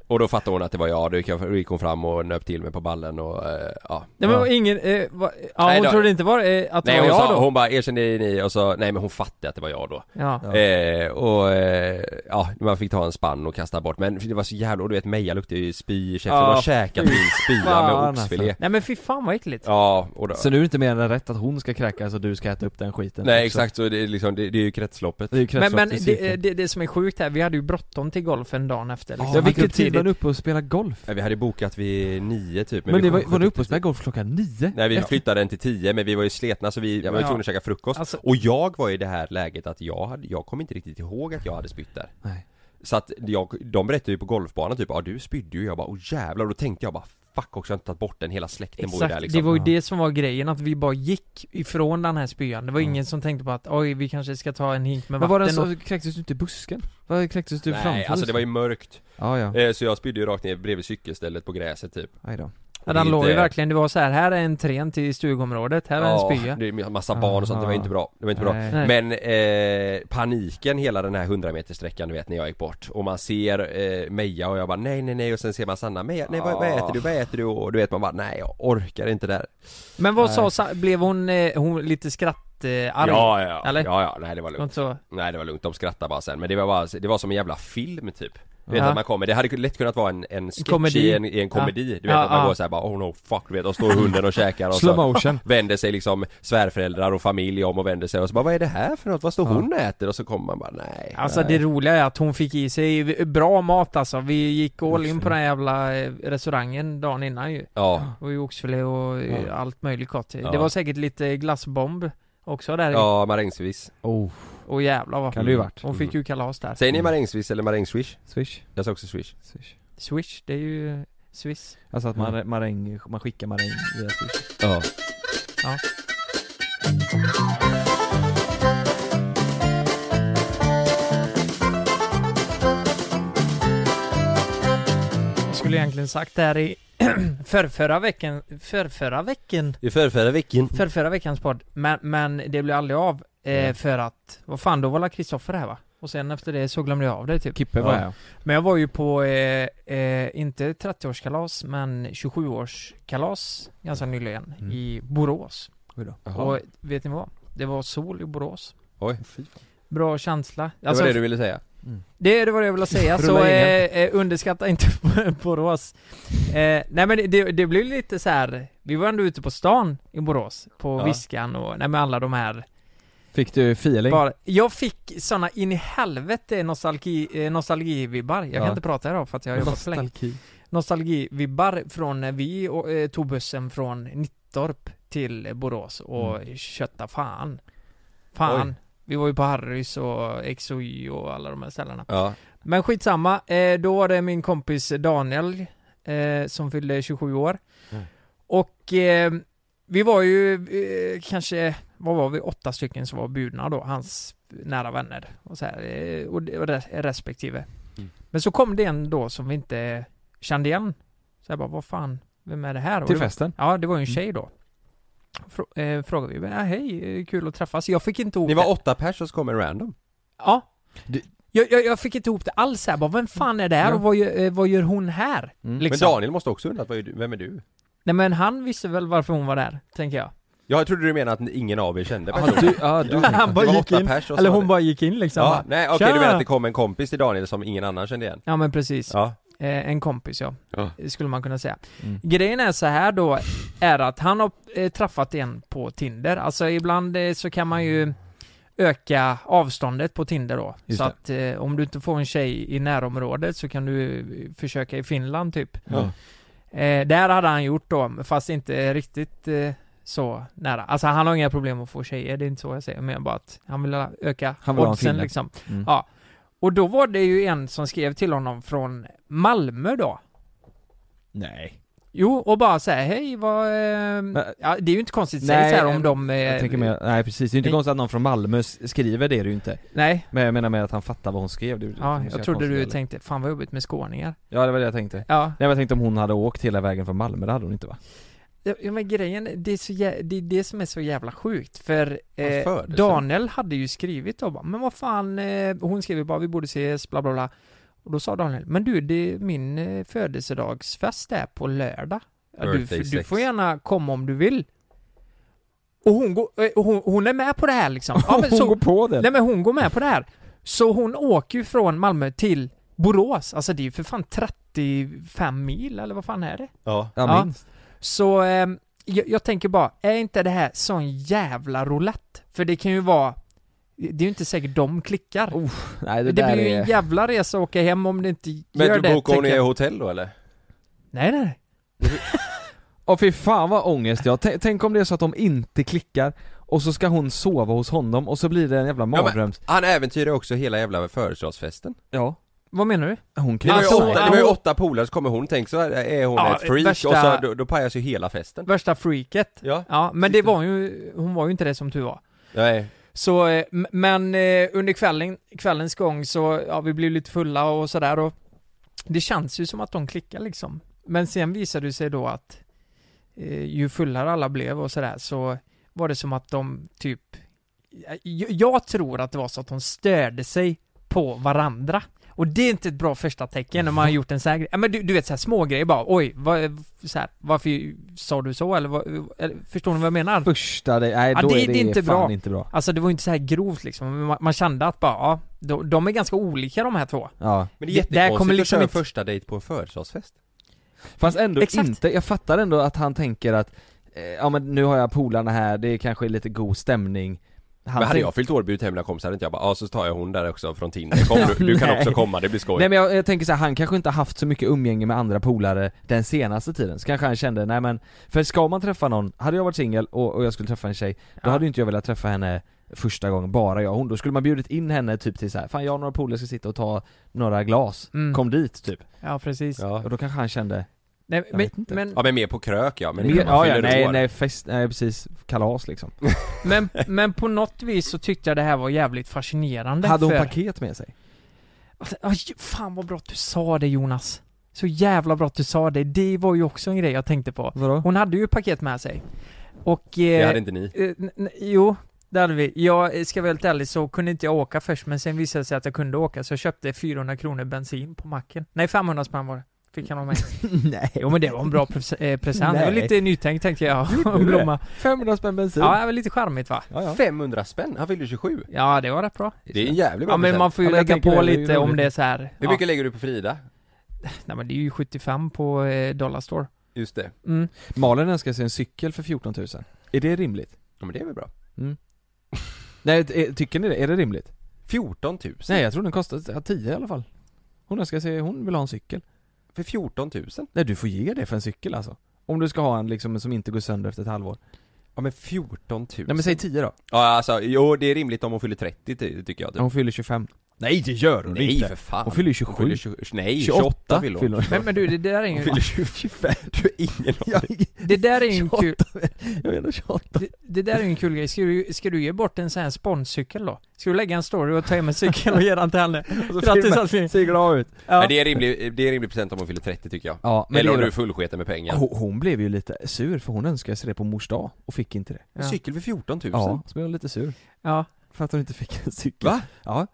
Och då fattade hon att det var jag, då gick, jag, då gick hon fram och nöp till mig på ballen och eh, ja
Nej men
Ja.
ingen, eh, va, ja,
Nej,
hon
då-
trodde inte var, eh, att det
Nej
var
hon,
jag
sa,
då.
hon bara, erkänn det är ni och så, nej men hon fattade att det var jag då
Ja.
Ja.
Eh, och eh, ja, man fick ta en spann och kasta bort men det var så jävla, och du vet Meja luktade ju spy i käften,
Ja,
hon har käkat min spya med
fan,
oxfilé
alltså.
Nej men fy fan vad äckligt.
Ja, och då,
Så nu är det inte mer än rätt att hon ska kräkas och du ska äta upp den skiten
Nej
också.
exakt, så det är liksom, det, det är ju kretsloppet
Det är ju
Men,
kretsloppet
men
i
det,
cirkeln.
det, det som är sjukt här, vi hade ju bråttom till golfen dagen efter liksom.
Ja,
Vi gick
vilken
upp
tid
tidigt.
var ni uppe och spelade golf?
Ja, Eh, Vi hade bokat vid nio typ
Men, det
vi
var,
kom
var ni
sju-
uppe och spelade golf klockan nio?
Nej vi
Efter-
flyttade den till tio men vi var ju sletna så vi var ju
Ja.
tvungna att käka frukost
Alltså-
Och jag var i det här läget att jag hade, jag kom inte riktigt ihåg att jag hade spytt där
Nej.
Så att jag, de berättade ju på golfbanan typ, ja du spydde ju, jag bara, åh jävlar, och då tänkte jag bara Fuck också, jag har inte tagit bort den, hela släkten bor ju
Exakt,
där liksom
det var ju
Ja.
det som var grejen, att vi bara gick ifrån den här spyan. Det var
Ja.
ingen som tänkte på att oj, vi kanske ska ta en hink med
Men var
vatten
det
och...
så, kräktes du inte i busken? Var kräktes du framför?
Nej,
liksom.
alltså det var ju mörkt
Ja, ja.
Eh, Så jag spydde ju rakt ner bredvid cykelstället på gräset typ
Aj då.
Ja, den
Det är
låg ju
inte-
verkligen, det var så här, här är en tren till stugområdet, här är en spya.
det är ju massa barn och sånt, det var ju inte bra, det var inte bra
Nej.
Nej.
Men eh, paniken hela den här 100 meterssträckan du vet när jag gick bort och man ser eh, Meja och jag bara nej nej nej och sen ser man Sanna Meja, nej vad, vad äter du, vad äter du? Och du vet man bara nej jag orkar inte där
Men vad sa,
Nej.
sa, blev hon, eh, hon lite skrattarg?
Ja ja,
eller?
ja ja, nej det var lugnt
Något så?
Nej det var lugnt, de skrattade bara sen men det var bara, det var som en jävla film typ Du vet
Ja.
att man kommer, det hade ku- lätt kunnat vara en, en sketch
Komedi.
i en, i en komedi Du vet
Ja,
att man
ja.
går såhär bara oh no fuck du vet och står hunden och käkar och
Slow
så
motion.
Vänder sig liksom svärföräldrar och familj om och vänder sig och så bara vad är det här för något? Vad står hon och äter? Och så kommer man bara nej
Alltså det roliga är att hon fick i sig bra mat alltså. Vi gick all in på den jävla eh, restaurangen dagen innan ju.
Ja,
Och i oxfilé och eh,
Ja.
allt möjligt gott.
Ja.
Det var säcket lite glassbomb också där i.
ja marängsviss
Oh,
Och jävlar vad
kan det ju varit. Mm.
Hon fick ju kalas där.
Säger ni marängsviss eller marängswish?
Swish.
Jag sa också swish
Swish.
Swish, det är ju Swiss.
Alltså att
Mm.
man, maräng, man skickar maräng via swish.
Ja
Jag skulle egentligen sagt det här i förrförra veckan, förrförra veckan,
I förrförra veckan
förrförra veckans podd. Men, men det blev aldrig av eh,
Mm.
för att, vad fan då var la Kristoffer här va? Och sen efter det så glömde jag av det typ.
Kippe
var
var
jag.
jag.
Men jag var ju på, eh, eh, inte 30-årskalas, men 27-årskalas ganska nyligen
Mm.
i Borås.
Jaha,
Och vet ni vad? Det var sol i Borås.
oj
Bra känsla. Alltså,
Det var det du ville säga?
Mm.
Det, det var det jag ville säga, så
Rulla in
eh,
igen.
eh, underskatta inte Borås. Eh, nej men det, det blev lite så här. vi var ändå ute på stan i Borås, på
Ja.
Viskan och, nej men alla de här.
Fick du feeling?
Bara, jag fick såna in i helvete nostalgi, eh, nostalgivibbar, jag kan
Ja.
inte prata idag för att jag har jobbat så länge.
Nostalgi.
Nostalgivibbar från när vi och, eh, tog bussen från Nittorp till eh, Borås och kötta fan. Fan. Vi var ju på Harrys och XOY och alla de här ställena.
Ja
Men skitsamma, eh, då var det min kompis Daniel eh, som fyllde 27 år.
Mm.
Och eh, vi var ju eh, kanske, vad var vi, åtta stycken som var bjudna då, hans nära vänner och så här, eh, och, det- och res- respektive.
Mm.
Men så kom det en då som vi inte kände igen. Så jag bara, vad fan, vem är det här? Och
Till
det var-
festen?
Ja, det var ju
Mm.
en tjej då. Frå- eh, frågade vi, men, ja, hej, eh, kul att träffas. Jag fick inte ihop
Ni var
det.
åtta pers och så kom en random
Ja.
Du-
Jag, jag, jag fick inte ihop det alls här. Bara, vem fan är det här
Ja.
och vad gör, eh, vad gör hon här?
Mm.
Men
Liksom.
Daniel måste också undrat, vad är du- vem är du?
Nej men han visste väl varför hon var där, tänker jag.
Jag trodde du menade att ingen av er kände
Ja, du, ja, du.
han bara
Det var
gick
åtta
in.
pers och så
Eller
var
hon
det-
bara gick in liksom.
Ja,
bara.
nej okej du menar
"Tja!"
att det kom en kompis till Daniel som ingen annan kände igen?
ja men precis.
Ja,
Eh, en kompis ja.
Ja.
Skulle man kunna säga.
Mm.
Grejen är så här då, är att han har eh, träffat en på Tinder. Alltså ibland eh, så kan man ju öka avståndet på Tinder då.
Just
så
det.
att eh, om du inte får en tjej i närområdet så kan du eh, försöka i Finland typ.
Ja.
Eh, det här hade han gjort då, fast inte riktigt eh, så nära. Alltså han har inga problem att få tjejer, det är inte så jag säger, men bara att han vill öka
Han vill ha en
oddsen
kille.
liksom.
Mm.
Ja. Och då var det ju en som skrev till honom från Malmö då.
Nej.
Jo, och bara säga hej vad... Eh,
Men-
ja, det är ju inte konstigt, säg
Nej,
så här om
jag-
de... Eh,
Jag tänker mer, nej precis, det är inte
Nej.
konstigt att någon från Malmö s- skriver det, det är det ju inte.
Nej,
Men jag menar med att han fattar vad hon skrev. Det, det
ja,
måste
jag
vara
trodde
konstigt,
du
eller?
tänkte, fan vad jobbigt med skåningar.
Ja, det var det jag tänkte. Nej
Ja,
men jag tänkte om hon hade åkt hela vägen från Malmö, det hade hon inte va?
Ja ja, men grejen, det är, så jä- det är det som är så jävla sjukt för
Vad
eh,
för det
Daniel hade ju skrivit då bara, men vad fan, eh, hon skrev ju bara vi borde ses, bla bla bla Och då sa Daniel, men du det är min eh, födelsedagsfest är på lördag ja, du,
Birthday
du
sex.
får gärna komma om du vill Och hon, går, eh, hon, hon är med på det här liksom ja, men så,
på det!
Nej men hon går med på det här Så hon åker ju från Malmö till Borås, alltså det är ju för fan 35 mil eller vad fan är det?
ja.
Ja.
Ja, minst.
Så ehm, jag, jag tänker bara, är inte det här sån jävla roulette? För det kan ju vara det är ju inte säkert de klickar.
Nej det,
det
där
blir ju en
är...
jävla resa att åka hem om det inte gör
Men
det.
du bokade hon
tänker
i
jag.
hotell då eller?
Nej, nej, nej.
Åh fy fan vad ångest jag T- Tänk om det är så att de inte klickar och så ska hon sova hos honom och så blir det en jävla
men-
mardröms...
Han äventyrar också hela jävla födelsedagsfesten
Ja,
Vad menar du?
hon
Det var ju
kan
Alltså,
åtta, det var ju
hon-
åtta polare, så kommer hon, tänk så här, är hon
Ja,
ett freak
värsta-
och så då, då pajas ju hela festen
Värsta freaket.
Ja,
Ja, men det var ju, hon var ju inte det som tur var.
nej,
Så, eh, m- men eh, under kvällen, kvällens gång så, ja vi blev lite fulla och sådär och det känns ju som att de klickar liksom. Men sen visade det sig då att eh, ju fullare alla blev och sådär så var det som att de typ, jag, jag tror att det var så att de störde sig på varandra. Och det är inte ett bra första tecken när man har gjort en sån här grej. Ja, men du, du vet såhär små grejer bara, oj, vad, eh, så här, varför sa du så eller, vad, eh, eller förstår ni vad jag menar?
Första dig, nej
Ja,
då
det-
är det,
det är inte
fan
bra.
inte bra
Alltså det var ju inte så här grovt liksom, men man, man kände att bara, ja, de, de är ganska olika de här två.
Ja,
Men det är
Det- det här
jättekonstigt
kommer
att
liksom
köra en
inte-
första dejt på en födelsedagsfest
fast ändå
Exakt.
inte, jag fattar ändå att han tänker att eh, Ja men nu har jag polarna här, det är kanske lite god stämning han
Men hade
tänk-
jag fyllt år bjudit hem mina kompisar hade inte jag bara, ja så tar jag hon där också från Tinder, kom du, du kan
Nej.
också komma, det blir skoj
Nej men jag, jag tänker så här, han kanske inte haft så mycket umgänge med andra polare den senaste tiden, så kanske han kände, nej men För ska man träffa någon, hade jag varit singel och, och jag skulle träffa en tjej, då
Ja.
hade ju inte jag velat träffa henne första gången, bara jag och hon, då skulle man bjudit in henne typ till så här, fan jag och några polare ska sitta och ta några glas,
Mm.
kom dit typ
Ja precis.
ja.
Och då kanske han kände,
Nej,
Jag
men,
vet inte.
men,
ja men mer på krök ja, men
mer,
innan man
ja, ja,
fyller
nej
år.
nej fest, nej precis, kalas liksom
men, men på något vis så tyckte jag det här var jävligt fascinerande
Hade hon
för...
paket med sig?
Alltså, aj, fan vad bra att du sa det Jonas. Så jävla bra att du sa det. Det var ju också en grej jag tänkte på.
Vadå?
Hon hade ju paket med sig. Och...
Det
Eh,
hade inte ni
eh, n- n- jo, det hade vi. Jag eh, ska vara helt ärlig så kunde inte jag åka först men sen visade det sig att jag kunde åka så jag köpte 400 kronor bensin på macken. Nej 500 spänn var det. Fick han av mig.
nej
Jo men det var en bra pres- eh, present. Det var
Nej.
lite nytänkt tänkte jag.
du det?
Blomma.
500 spänn bensin?
Ja, det var lite charmigt va?
ja, ja.
500 spänn, han fyllde 27
Ja, det var rätt bra.
Det är en jävlig bra
Ja men
present.
man får ju
Ja, men jag
lägga
tänker
på
väl, det är ju
lite om
roligt.
det är så här.
Hur
Ja.
mycket lägger du på Frida?
Nej men det är ju 75 på eh, Dollarstore.
Just det,
Mm.
Malin önskar sig en cykel för 14 000 Är det rimligt?
ja, men det är väl bra
Nej, t- eh, tycker ni det? Är det rimligt?
14 000?
Nej jag tror den kostar ja, 10 i alla fall Hon önskar sig, hon vill ha en cykel
För 14 000?
Nej du får ge det för en cykel alltså Om du ska ha en liksom som inte går sönder efter ett halvår
Ja men 14 000
Nej men säg 10 då,
Ja alltså, jo det är rimligt om hon fyller 30 ty- tycker jag typ.
hon fyller 25 Nej det gör hon
Nej
inte!
för fan!
Hon fyller ju 27
fyller 20 nej 28 fyller hon
Men, men du, det där är
Hon
ju...
fyller 25, du har ingen aning
Det där är ju en kul...
Jag menar 28
Det, det där är ju en kul grej. Ska du, ska du ge bort en sån här spåncykel då? Ska du lägga en story och ta hem en cykel och ge den till henne? Grattis älskling!
Ser glad ut
Nej
Ja.
det är rimlig, det är rimlig present om hon fyller 30 tycker jag
Ja men
Eller
det
om
är
du är
bra.
fullsketen med pengar
Hon- Hon blev ju lite sur för hon önskade sig det på mors dag och fick inte det
En Cykel för 14 000?
Ja, så blev hon lite sur
Ja.
för att hon inte fick en cykel
Va?
Ja,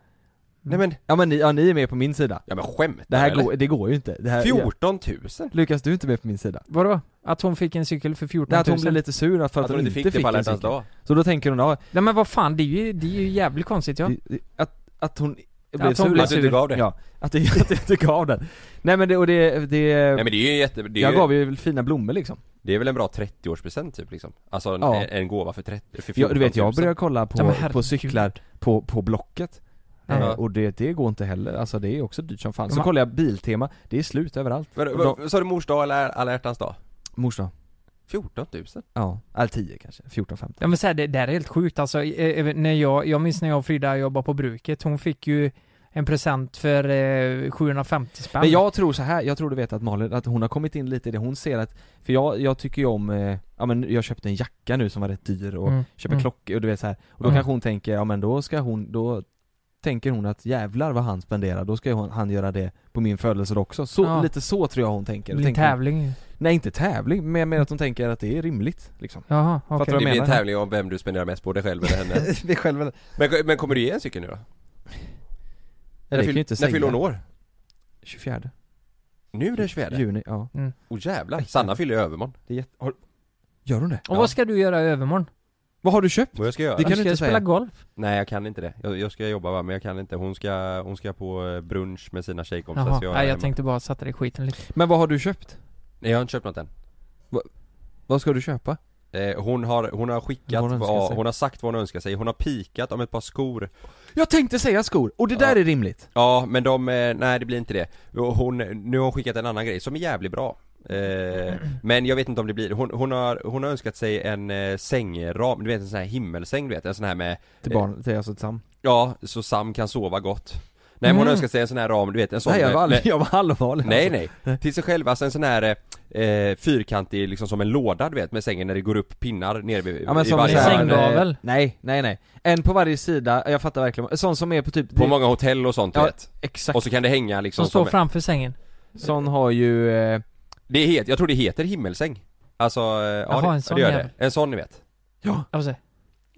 Mm.
Nej men,
ja men ni, ja, ni är med på min sida
ja men skämtar
Det här
eller?
går, det går ju inte det här,
14 000?
Lukas du är inte med på min sida
Vadå? Att hon fick en cykel för 14
Nej
000?
att hon blev lite sur för att,
Att hon inte fick det
fick
på alla
en
hjärtans
cykel
dag?
Så då tänker hon, ja,
Nej men vad fan, det är ju, det är ju jävligt konstigt ja.
det- det- att, att hon blev
hon
sur
blev
Att du inte gav det?
Ja, att du att du inte gav den Nej men det, och det, det,
Nej men det är ju jätte, det är,
jag
ju,
gav ju väl fina blommor liksom
det är väl en bra 30-årspresent typ liksom? Alltså en,
Ja.
en gåva för 30, för 14
jag,
000
Du vet jag började kolla
Ja,
på,
men herregud.
på cyklar på, på Blocket
Ja.
Eh, Och det, det går inte heller, alltså det är också dyrt som fan. Så
Men-
kollar jag Biltema, det är slut överallt
Men, vad- Sa du mors dag eller alla hjärtans dag?
Mors dag,
14 000?
ja, eller 10 kanske, 14, 15
Ja men så här, det där är helt sjukt alltså. Eh, eh, När jag, jag minns när jag och Frida jobbade på bruket, hon fick ju en present för eh, 750 spänn.
Men jag tror så här, jag tror du vet att Malin, att hon har kommit in lite i det, hon ser att För jag, jag tycker ju om, eh, ja men jag köpte en jacka nu som var rätt dyr och
Mm.
köper
Mm.
klockor och du vet så här. Och då
Mm.
kanske hon tänker, ja men då ska hon, då tänker hon att jävlar vad han spenderar, då ska hon, han göra det på min födelsedag också. Så,
Ja.
lite så tror jag hon tänker.
Det
Och
blir en
tänker
tävling.
Nej inte tävling, men jag menar att hon tänker att det är rimligt liksom.
Jaha,
Fattar
okej.
du
Det blir en
menar?
tävling om vem du spenderar mest på, dig själv eller henne
det är själv eller?
men, men kommer du ge en cykel nu då?
Det
när
kan ju inte
när
säga.
fyller hon år?
24
Nu den 24?
juni, ja.
Åh jävlar, Sanna fyller i övermorgon
Det är jätte... har... Gör hon det?
Och
Ja.
vad ska du göra i övermorgon?
Vad har du köpt?
Vad jag ska göra?
Det kan
Du
du
ska
inte
spela
säga.
golf?
Nej jag kan inte det, jag, jag ska jobba va, men jag kan inte Hon ska, hon ska på eh, brunch med sina tjejkompisar
Jaha,
så är
jag, jag
hemma.
tänkte bara sätta dig i skiten lite.
Men vad har du köpt?
Nej jag har inte köpt något än
Vad ska du köpa?
eh, hon, har, hon har skickat,
Vad
vad
hon
hon,
önskar sig.
hon har sagt vad hon önskar sig, hon har pikat om ett par skor
Jag tänkte säga skor, och det
Ja.
där är rimligt.
Ja men de, eh, nej det blir inte det Och hon, Nu har hon skickat en annan grej som är jävligt bra eh, Men jag vet inte om det blir Hon, hon, har, hon har önskat sig en eh, sängram, du vet en sån här himmelsäng du vet, en sån här med
Till barn, till alltså till Sam.
Ja, så Sam kan sova gott Nej men hon
Mm.
önskar sig en sån här ram, du vet en sån
Nej jag
med-
var,
med-
all... jag var allvarlig
Nej
alltså.
nej, till sig själv, alltså en sån här eh, fyrkantig liksom som en låda du vet med sängen när det går upp pinnar nere vid,
Ja men
i
som
varje
en
så här,
hörn.
sängdörr. sänggavel.
eh, Nej, nej nej. En på varje sida, jag fattar verkligen. Sån som är på typ...
På många hotell och sånt du
Ja,
vet
Exakt.
Och så kan det hänga liksom
Som står
som-
framför sängen.
Sån har ju... Eh,
Det heter, jag tror det heter himmelsäng Alltså, eh, ja
Jaha,
det,
en sån
det gör
jävel.
det En sån ni vet
Jag får se.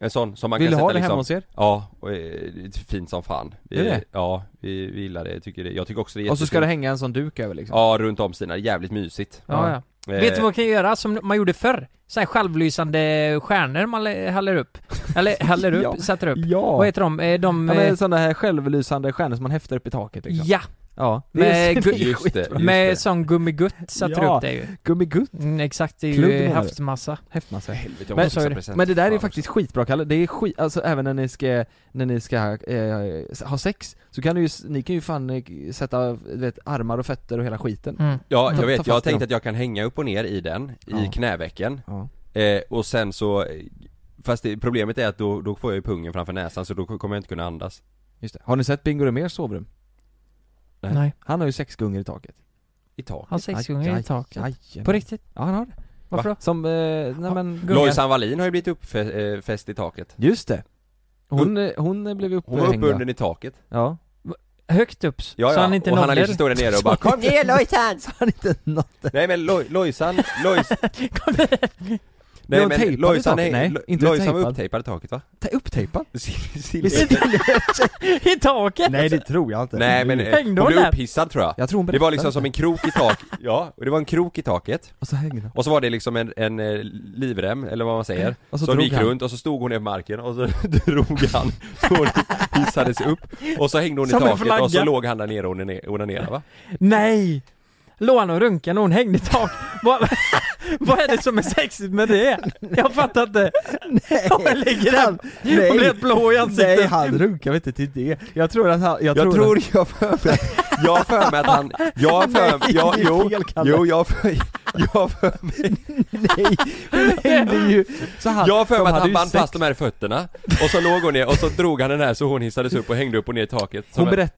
En sån som man
Vill du
kan
ha
sätta
det hemma
liksom
hos er?
Ja, och, eh, det är fint som fan vi,
Är det?
Ja, vi, vi gillar det, tycker det, jag tycker också det är
Och så ska
jättefint.
det hänga en sån duk över liksom?
Ja, runt om Stina, jävligt mysigt
Ja, ja.
Eh,
Vet du vad man kan göra som man gjorde förr? Så här självlysande stjärnor man lä- häller upp. Eller häller upp,
Ja.
sätter upp.
Ja!
Vad heter de? Eh, De...
ja
eh,
men sådana här självlysande stjärnor som man häftar upp i taket liksom?
ja,
Ja, det är,
Med
det är
gu-
Just det,
skitbra.
just
med
det.
sån gummigutt sätter
Ja.
upp det ju.
Gummigutt,
Mm, exakt, det är
Klubb,
ju
menar du?
havsmassa.
häftmassa
Helvete, jag
Men-
måste
så är
fixa
det.
present.
Men det där är
Fan,
ju faktiskt skitbra Kalle, det är skit, alltså även när ni ska, när ni ska eh, ha sex Så kan du ju, ni kan ju fan eh, sätta, du vet, armar och fötter och hela skiten
Mm.
Ja,
Ta-
jag
ta
vet. Jag
fast i
tänkte
dem.
att jag kan hänga upp och ner i den, i
Ja.
knävecken.
Ja.
Eh, och sen så, fast det, problemet är att då, då får jag ju pungen framför näsan så då kommer jag inte kunna andas.
Just det. Har ni sett Bingo Rimérs sovrum?
Nej.
Nej,
Han har ju sex gungor i taket
I taket.
han sex
Aj,
gånger i
aj,
taket.
Jajamän.
På riktigt?
Ja han har det
Varför då?
Som, eh, nej
Ja.
men
Gunga.
Lojsan Wallin har ju blivit uppfäst i taket.
Just det Hon, eh, hon blev
Hon var
upphängd va?
uppbunden i taket.
Ja
Högt upp, så
Ja, ja.
han inte
och han har
nådde
liksom stått där nere och bara Kom ner!
Lojsan! Så han inte nått
Nej men Loj- Lojsan, Lojsan
Kom ner.
Nej
hon tejpad
men
i
Lojsan,
taket?
nej,
Nej,
Lo-
inte
Lojsan var
tejpad.
upptejpad i taket va?
Ta- Upptejpad?
Sil- sil-
I taket!
det tror jag inte
Nej men eh,
Hängde
hon
hon
blev
där?
upphissad tror jag
Jag tror hon
Det var
berättade
liksom som
det.
en krok i taket, ja, och det var en krok i taket
Och så hängde han
Och så var det liksom en, en eh, livrem, eller vad man säger,
Och så
som
drog
gick
han.
runt och så stod hon ner på marken och så drog han så hon hissades upp och så hängde hon
Som en
i taket
flagga.
och så låg han där nere och onane- onanerade va?
Nej! Låg han och runkade när hon hängde i taket? vad, vad är det som är sexigt med det? Jag fattar inte. Han ligger där.
nej.
Hon blir helt blå i ansiktet.
Nej han runkar väl inte till det? Jag tror att han, jag,
Jag, tror, jag för mig, jag har för mig att han, jag har för mig, jag,
det är
jo,
fel, Kalle.
jo, jag har för, jag har för mig,
nej, hon hängde ju så han,
jag har för
de
mig att
hade
han
ju
band
sex.
fast de här fötterna och så låg hon ner och så drog han den här så hon hissades upp och hängde upp och ner i taket som
Hon
en-
berättade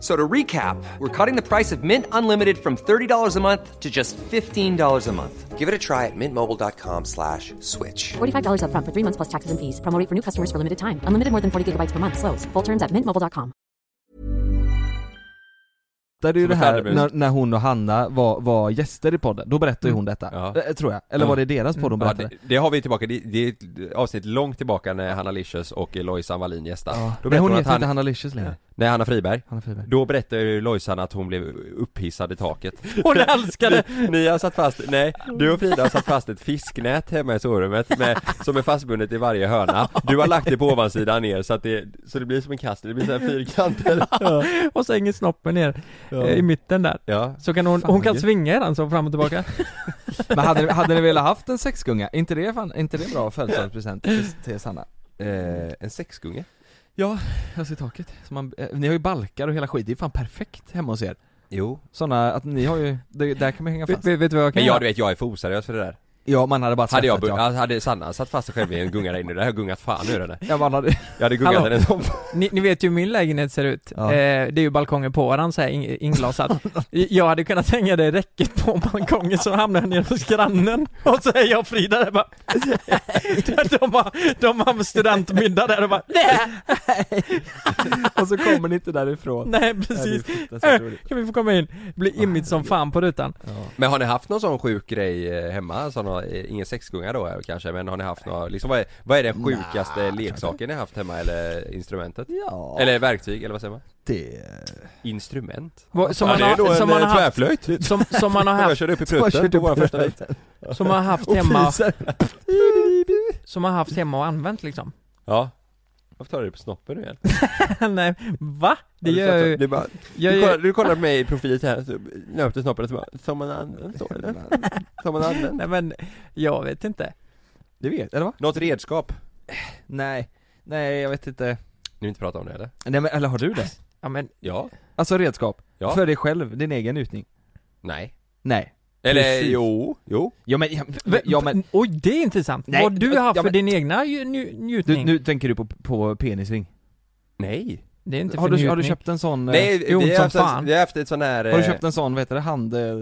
So to recap, we're cutting the price of Mint Unlimited from $30 a month to just $15 a month. Give it a try at mintmobile.com slash switch.
$45 up front for three months plus taxes and fees. Promo rate for new customers for limited time. Unlimited more than 40 gigabytes per month. Slows. Full terms at mintmobile.com.
ju
Som
det
en
här
fladdermus.
när, när hon och Hanna var, var gäster i podden, då berättade ju hon detta,
Ja.
Eh, tror jag, eller
Ja.
var det deras podd hon
Ja,
berättade?
det, det har vi tillbaka, det, det är ett avsnitt långt tillbaka när Hanna Licious och Lojsan Wallin gästar.
Ja.
Då
Nej
berättar
hon
hon att
heter
han,
inte Hanna Licious längre,
nej Hanna Friberg,
Hanna Friberg
Då berättade ju Lojsan att hon blev upphissad i taket
Hon älskade
ni, ni har satt fast, nej, du och Frida har satt fast ett fisknät hemma i sovrummet med, som är fastbundet i varje hörna Du har lagt det på ovansidan ner så att det, så det blir som en kast, det blir så här fyrkanter
och så hänger snoppen ner eh, i mitten där.
Ja,
Så kan hon,
Fan,
hon kan
gud.
svinga i den så fram och tillbaka.
Men hade, ni- hade ni velat haft en sexgunga? Är inte det fan, är inte det bra födelsedagspresent till, till Sanna?
eh, en sexgunge?
Jag ser taket, så man, eh, ni har ju balkar och hela skit, det är fan perfekt hemma hos er
Jo
Såna, att ni har ju, det, där kan man hänga
vet,
fast
vet, vet du vad jag kan
Men jag,
göra?
du vet, jag är för oseriös för det där
Ja man hade bara
Hade jag,
skrattat, ja.
bu- hade Sanna satt fast sig själv i en gunga där inne, det har jag gungat fan ur henne
Ja, man hade,
Jag hade gungat
Hallå.
henne som
Ni, ni vet ju hur min lägenhet ser ut.
Ja.
Eh, det är ju balkongen på varann så här in- inglasad. jag hade kunnat hänga det i räcket på balkongen så hamnar jag nere hos grannen. Och så är jag och Frida där bara. de, har, de har studentmiddag där och bara. Nej,
och så kommer ni inte därifrån
nej
Ja, det är
precis.
fruktansvärt roligt.
Kan vi få komma in? Blir immigt som fan på rutan.
Men har ni haft någon sån sjuk grej eh, hemma? Såna, eh, ingen sexgunga då eh, kanske, men har ni haft några, liksom vad är, vad är den sjukaste leksaken ni haft hemma eller instrumentet?
Ja,
Eller verktyg, eller vad säger man?
det...
Instrument?
Vad- Som
Ja,
man
det är då
har, som
en
man har
eh,
haft,
tvärflöjt!
som, som man har
Som jag
haft,
körde upp i
Som jag
pruten
körde
på
upp
våran
i
första dejt
som man har haft hemma,
Fiser.
som man har haft hemma och använt liksom.
Ja Varför tar du det på snoppen nu igen?
Nej, va? Det
Har du
gör
sett
ju...
det? Det är bara,
Jag,
du, kollar,
jag,
du kollar på mig i profil här, så nöp du snoppen och så bara, som man använder så eller? Som man använder
nej men, jag vet inte.
Det vet, eller va?
Något redskap?
Nej, nej jag vet inte
Ni vill inte prata om det eller?
Nej men, eller har du det?
Ja men,
Ja?
Alltså redskap?
Ja.
För dig själv, din egen njutning?
Nej?
Nej
Eller
Precis.
jo, jo
Ja men, ja, ja, men
oj det är intressant.
Nej,
Vad du har haft
ja,
för
men-
din egna ju- nju- njutning.
du, nu tänker du på, på penisring?
Nej
det är inte
Har
för
du,
njutning.
har du köpt en sån, eh,
Nej,
det är ont
vi, har
som
haft, ett-
fan.
vi har haft ett sån här
har du
eh,
köpt en sån, vad heter det, hand... eh,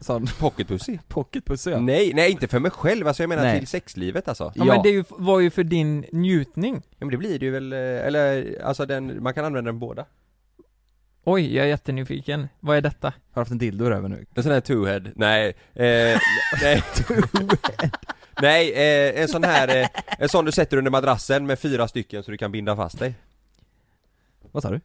Sån
Pocketpussy?
pocketpussy ja.
Nej, nej inte för mig själv alltså, jag menar
Nej.
till sexlivet alltså
Ja.
Ja, men det är ju- var ju för din njutning.
Ja men det blir det ju väl, eh, eller alltså den, man kan använda den båda
Oj, jag är jättenyfiken. Vad är detta?
Har haft en dildo över nu.
En sån här two-head, nej, eh, nej Nej, eh, en sån här, eh, en sån du sätter under madrassen med fyra stycken så du kan binda fast dig
Vad sa du?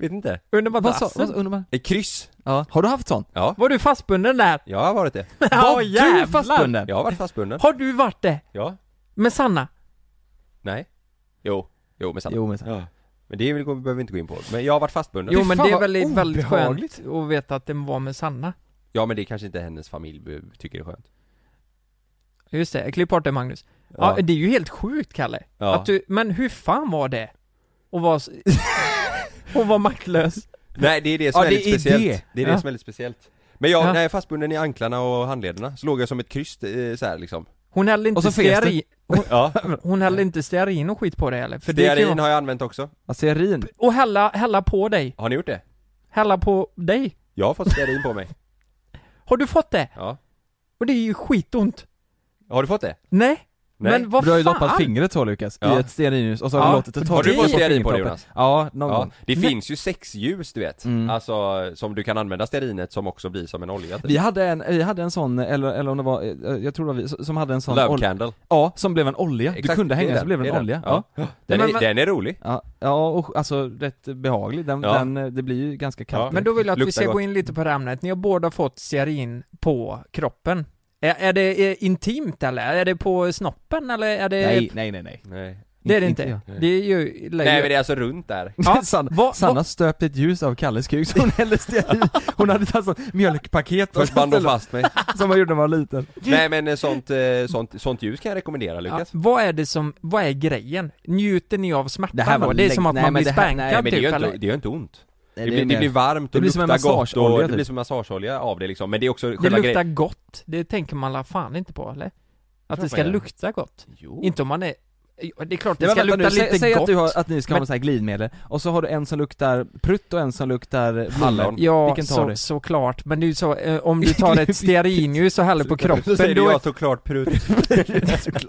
Vet inte?
Under
Vad sa,
madrassen?
vad, undrar man?
Ett kryss?
Ja. Har du haft sån?
Ja,
Var du fastbunden där?
jag har varit det
Ja,
Var
jävlar.
du fastbunden?
Jag har varit fastbunden
Har du varit det?
Ja,
Med Sanna?
nej Jo, jo men sant
Jo men så.
Ja. Men det vill, behöver vi inte gå in på, men jag har varit fastbunden
Jo men
fan
det är
vad
väldigt, väldigt
obehagligt.
skönt att veta att den var med Sanna.
Ja men det kanske inte hennes familj be- tycker är skönt
Just det, klipp bort det Magnus. Ja. eh, det är ju helt sjukt Kalle.
Ja.
Att du, men hur fan var det? Och var... s- Hon var maktlös.
Nej det är det som
Ja,
är
det
lite
är
speciellt Det,
det.
är det
Ja.
som är lite speciellt Men jag,
Ja.
när jag är fastbunden i anklarna och handlederna så låg jag som ett kryss eh, så här liksom
Hon
Och
hällde inte
så fes det.
stearin,
Ja,
hon hällde inte stearin och skit på dig eller? För det kan ju
stearin
vara-
har jag använt också
Acerin.
Och hälla, hälla på dig.
Har ni gjort det?
Hälla på dig.
Jag har fått stearin på mig
Har du fått det?
Ja
Och det är ju skitont.
Har du fått det?
Nej.
Nej.
Men vad
Du har ju
fan?
doppat fingret så Lukas,
Ja.
i ett stearinljus och så har
Ja.
du låtit det ta
Har du
dig
fått
på
stearin på dig, Jonas?
fingertoppen. Ja, någon
Ja,
gång.
det finns ju sexljus du vet,
Mm.
alltså som du kan använda stearinet som också blir som en olja typ.
Vi hade en, vi hade en sån, eller, eller om det var, eh, jag tror det var vi, som hade en sån
Love
olja,
candle
Ja, som blev en olja. du
Exakt, det
kunde
är
hänga
den,
så blev
det
det
är
en
den.
olja.
Ja.
Ja.
Den,
Men
är,
vad-
den är rolig
Ja, ja och alltså rätt behaglig. Den,
Ja.
den, eh, det blir ju ganska kallt.
Ja.
Men då vill jag att vi
Luktar
ska
gott.
gå in lite på det här ämnet. Ni har båda fått stearin på kroppen. Är, är det eh, intimt eller? Är det på snoppen eller är det...
nej, nej, nej, nej.
Nej,
Det är det inte.
jag.
det är ju...
Nej men det är alltså runt där
Ja,
Sanna,
vad-
Sanna
vad-
stöpte ett ljus av Kalles kuk så hon hällde stearin. Hon hade tagit sånt mjölkpaket och
Först band de fast mig
som man gjorde när man var liten.
Nej men eh, sånt, eh, sånt, sånt ljus kan jag rekommendera
Ja,
Lukas
vad är det som, vad är grejen? Njuter ni av smärtan
Det här var
då? Det är
lägg-
som att
nej,
man
men
blir
det här-
spankad
nej,
Nej men det
typ
gör
eller?
inte, det gör inte ont
Nej,
det, blir, det blir varmt och
Det blir som en
luktar gott och
massageolja,
det
typ.
blir som massageolja av det liksom Men det är också
Det
själva
luktar
grejen
gott, det tänker man la fan inte på eller? Att
Klart
det ska
man gör.
lukta gott.
Jo.
Inte om man är... Ja, Det är klart det
Nej, Oh. men
ska
vänta
lukta
nu, säg,
lite
säg
gott.
att, du har, att ni ska
Men-
ha något sånt här glidmedel, och så har du en som luktar prutt och en som luktar blommor.
Hallon.
Ja,
Vilken tar
så,
du?
såklart. Men det är ju så, eh, om du tar ett stearinljus och häller på
Så
kroppen
säger du
då...
jag såklart prutt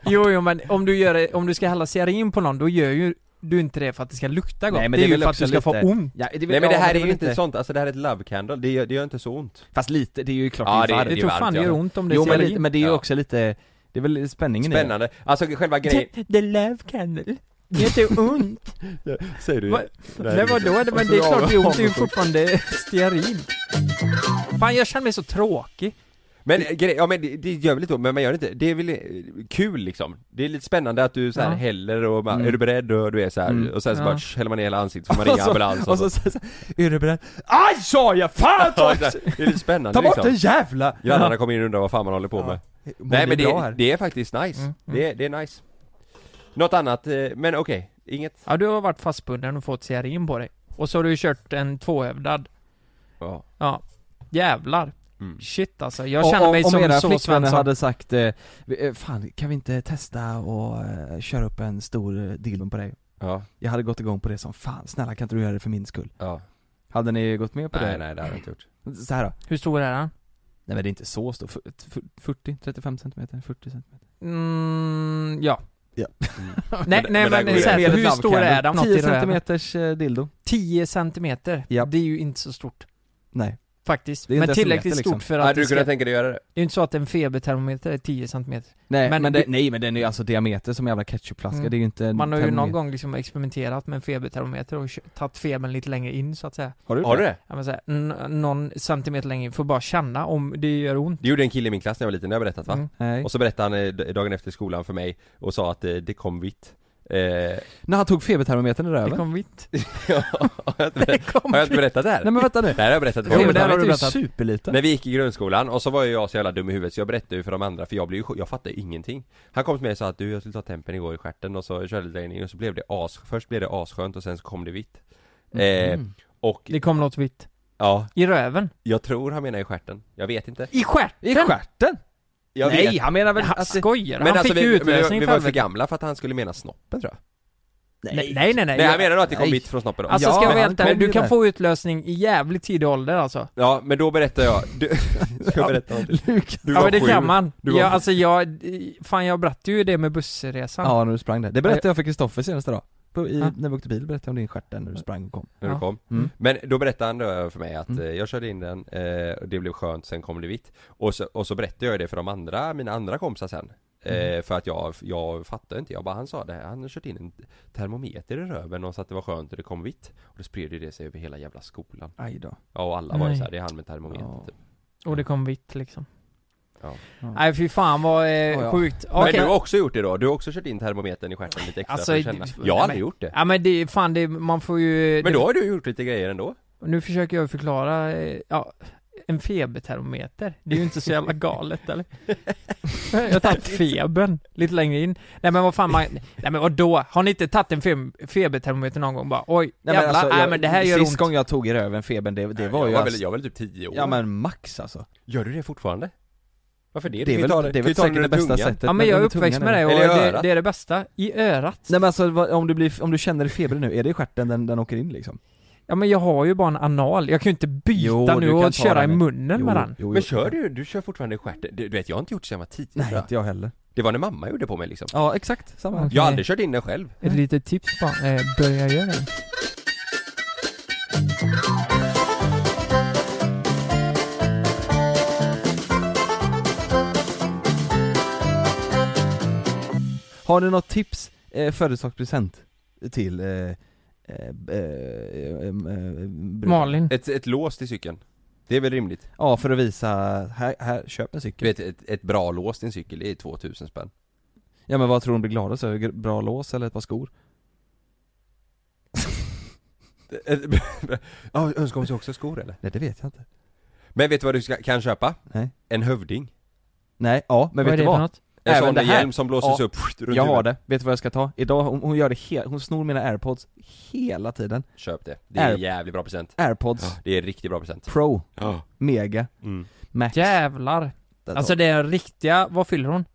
Jo, jo, men om du gör det, om du ska hälla stearin på någon, då gör ju du inte det för att det ska lukta gott.
Nej, men
det
det
är
är väl
ju för att du
också
ska få
lite-
ont.
Ja, det,
Nej men det
ja,
här är
väl
ju inte sånt, alltså det här är ett love candle, det gör, det gör inte så ont
Fast lite, det är ju klart
Ja,
det är
det
Det
är
tror
varmt,
fan det
ja.
gör ont om det är
Jo men,
stearin.
lite, men det är ju
Ja.
också lite, det är väl spänningen i det.
Spännande, alltså själva grejen
The- The love candle. Det är inte ont.
Säger du
Va- Nej vadå? Men det är klart det är ont, det är ju fortfarande stearin. Fan jag känner mig så tråkig.
Men eh, grej, ja men det, det gör väl lite ont, men man gör det inte, det är väl eh, kul liksom Det är lite spännande att du så här
Ja.
häller och man,
Mm.
är du beredd och du är så här
Mm.
och sen så
Ja.
bara tsch, häller man ner hela ansiktet så får man ringa ambulans
och så, så, så, är du beredd? Aj sa jag! Fan ta,
Ja, så här, Det är lite spännande
ta bort
liksom
den jävla!
Grannarna kommer in och undrar vad fan man håller på med
Mår
Nej men
bra
det,
här?
det är faktiskt nice,
Mm, mm.
Det, är, det är nice Något annat, eh, men okej, inget
Ja du har varit fastbunden och fått stearin på dig. Och så har du ju kört en tvåhövdad.
ja.
Ja. Jävlar.
Mm.
Shit alltså. Jag
Och-
känner
om-
mig
Om
som
era
så
flickvänner
Svensson.
hade sagt, eh, vi- eh, fan kan vi inte testa och eh, köra upp en stor eh, dildo på dig?
ja,
Jag hade gått igång på det som fan, snälla kan inte du göra det för min skull?
ja
Hade ni gått med på
Nej
det?
nej det har jag inte gjort
Så här då.
Hur stor är han?
Nej men det är inte så stor, Fu- fu- 40, 35 centimeter, 40 centimeter
Mm, ja.
Ja.
nej,
Men-
nej
men
men,
där går
så här,
det.
Med ett
hur
love
stor är
candle.
den?
10 centimeters eh, dildo
10 centimeter?
Ja.
Det är ju inte så stort.
Nej
Faktiskt.
Det är inte
Men
ens en
tillräckligt
meter, liksom.
stort för att
Hade
det
du
ska...
kunnat tänka dig göra det?
Det är ju inte så att en febertermometer är 10 centimeter.
Nej
Men
men, det,
det-
nej men den är ju alltså diameter som en jävla ketchupflaska,
Mm.
det är ju inte en
Man har ju någon
termometer.
gång liksom experimenterat med en febertermometer och kö- tagit febern lite längre in så att säga.
Har du,
Har du det?
Ja, men så här, n- någon centimeter längre in, får bara känna om det gör ont.
Det gjorde en kille i min klass när jag var liten, det har jag berättat va?
Mm.
Nej
Och så berättade han eh, d- dagen efter skolan för mig och sa att eh, det kom vitt eh,
När han tog febertermometern i
Det
röven?
kom vitt.
ja, har, jag inte,
Det
ber-
kom
har jag inte
vitt.
berättat det här?
Nej men vänta nu!
Det här har jag berättat
Jo men det
förut.
här har du
berättat.
berättat Superliten
När vi gick i grundskolan och så var ju jag så jävla dum i huvudet så jag berättade ju för de andra för jag blev ju, sj- jag fattade ju ingenting Han kom till mig och sa att du jag skulle ta tempen igår i stjärten och så körde jag in i och så blev det as, först blev det asskönt och sen så kom det vitt eh,
Mm.
Och
Mhm. Det kom något vitt.
ja,
I röven.
jag tror han menar i stjärten, jag vet inte
I stjärten!
I stjärten?
jag
Nej
vet.
han menar väl
Han
att det...
skojar, han fick ju
vi, alltså, men
utlösning
vi
för
var för
helvete.
gamla för att han skulle mena snoppen tror jag
Nej, nej, nej. nej.
Nej jag menar nog att det kom vitt från snoppen då.
Alltså
Ja,
ska jag
men
vara
han
helt ärlig,
kom ju
du kan
där.
få utlösning i jävligt tidig ålder alltså.
Ja men då berättar jag, du, ska jag berätta om
Lukas.
du
ja
var
men det
sju.
kan man.
Du var
Ja,
sju.
alltså jag, fan jag berättade ju det med bussresan.
Ja, när du sprang där. Det berättade
Ja.
jag för Kristoffer senaste dag. På, i,
Ja.
När vi åkte bil berättade jag om din stjärt där när du sprang och kom.
när
Ja.
du kom.
Mm.
Men då berättade han då för mig att
Mm.
eh, jag körde in den, eh, och det blev skönt, sen kom det vitt. Och så, och så berättade jag det för de andra, mina andra kompisar sen.
Mm.
Eh, för att jag, jag fattade inte, jag bara han sa det här, han har kört in en termometer i röven och sa att det var skönt och det kom vitt. Och då spred ju det sig över hela jävla skolan.
Aj då.
Ja och alla var ju
Nej.
såhär, det är han med termometer
Ja.
typ.
Och det kom vitt liksom.
Ja.
Nej fy fan vad eh,
ja.
sjukt. Okej.
Men du har också gjort det då? Du har också kört in termometern i stjärten lite extra
Alltså,
för att känna?
det-
Jag har aldrig
men-
gjort det.
Ja men det, fan det, man får ju...
Men
det,
då har du gjort lite grejer ändå?
Nu försöker jag förklara, eh, ja, en febertermometer. Det är ju inte så jävla galet eller? Jag har tagit febern lite längre in. Nej men vad fan man, nej men då? Har ni inte tagit en fem- febertermometer någon gång bara oj,
Nej,
jävlar,
men alltså,
nej
jag,
men det här gör
Sist
ont.
gång jag tog i röven febern, det, det var
jag
ju
var
ass-
väl, jag var väl typ 10 år?
Ja men max alltså.
Gör du det fortfarande? Varför det?
Det är väl, det är väl säkert det bästa sättet.
Ja men
men
jag är
under tungan
uppväxt med
är
det och
Eller i
det,
örat.
det är det bästa. I örat.
Nej men alltså vad- om du, blir, om du känner i feber nu, är det i stjärten den, den åker in liksom?
Ja men jag har ju bara en anal, jag kan ju inte byta
Jo,
nu
du kan
och
ta
köra i
den.
munnen med den.
Men kör du? Du kör fortfarande i stjärten? Du, du vet, jag har inte gjort det sen jag var 10
Nej
tror
inte
jag.
jag heller.
Det var när mamma gjorde på mig liksom.
Ja exakt, samma.
Okej.
Jag har aldrig kört in den själv.
Ett litet tips bara, eh, börja göra det.
Har ni något tips, eh, födelsedagspresent till eh, eh, eh, eh, eh, bruden?
Malin.
Ett, ett lås till cykeln. Det är väl rimligt?
Ja för att visa, här, här köp en
Du
cykel.
vet, ett, ett bra lås till en cykel är 2000 spänn.
Ja men vad tror hon blir gladast över? Gr- Bra lås eller ett par skor?
Ja, önskar hon sig också skor eller?
Nej det vet jag inte.
Men vet du vad du ska, kan köpa?
Nej.
En hövding.
Nej, ja men
Vad är
vet
det
du
för
vad?
något?
En
Även
sån
det
där
här.
hjälm som blåses
Ja.
upp runt
Jag har
huvudet.
det, vet du vad jag ska ta? Idag, hon, hon gör det helt, hon snor mina airpods hela tiden.
Köp det. Det är
Är-
en jävligt bra present.
Airpods
Det är en riktigt bra present.
pro,
Ja.
mega,
Mm.
max.
Jävlar.
Där tar-
Alltså det är riktiga, vad fyller hon?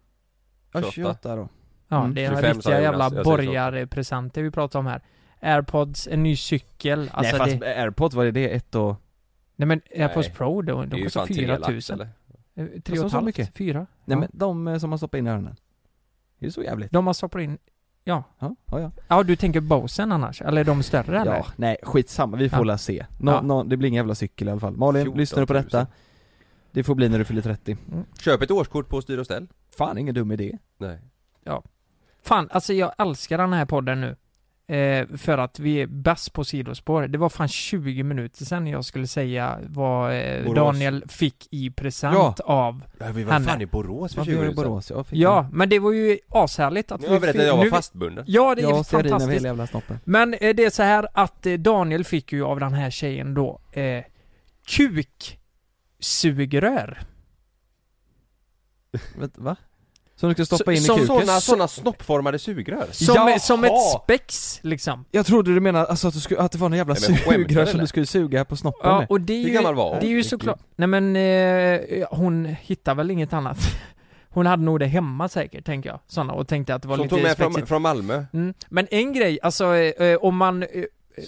Ja,
28.
28 då.
Ja,
Mm.
det är
25 sa
riktiga
Jonas,
jävla
jag säger så.
borgarpresenter vi pratar om här. Airpods, en ny cykel, alltså
Nej fast
det,
airpods, vad är det? Ett och...
Nej men Airpods
Nej.
Pro, de,
Det är
de
ju
kostar
fan 3 lax
4000
eller? Alltså,
3
Kostar
och ett
så
halvt,
mycket?
fyra.
Nej
Ja.
men de eh, som man stoppar in i öronen. Det är ju så jävligt.
De har stoppat in, ja.
Ja, ja, ja.
Ja du tänker Bosen annars? Eller är de större eller?
ja nej skitsamma, vi får
Ja.
väl se. Nå,
Ja.
nå, det blir ingen jävla cykel i alla fall. Malin,
14 000.
lyssnar du på detta? Det får bli när du fyller 30.
Köp ett årskort på styr och ställ.
Fan ingen dum idé.
Nej.
Fan, alltså jag älskar den här podden nu. Eh, för att vi är bäst på sidospår. Det var fan 20 minuter sedan jag skulle säga vad eh,
Borås.
Daniel fick i present av.
Ja, vi
var Hanna. fan
i Borås
Vad gör du i Borås? Jag fick
Ja, men det var ju ashärligt att
Jag har berättat
fick-
att jag
nu-
var fastbunden.
Ja, det är
Ja, teorin över
fantastiskt.
hela jävla snoppen.
Men eh, det är så här att eh, Daniel fick ju av den här tjejen då eh, kuksugrör.
Vet- Va? Som du ska stoppa in i
Som
kuken?
Såna, såna snoppformade sugrör.
Som,
Jaha!
som ett spex liksom.
Jag trodde du menade alltså att, du skulle, att det var någon jävla
Nej, men skämtar
sugrör som
eller?
du skulle suga på snoppen
Ja,
med.
och det är
Hur
ju,
gammal var hon?
det är ju såklart, nej men eh, hon hittar väl inget annat. Hon hade nog det hemma säkert, tänker jag. Såna, och tänkte att det var
Som
lite
tog med från,
spexigt.
från Malmö.
Mm. Men en grej, alltså eh, eh, om man eh,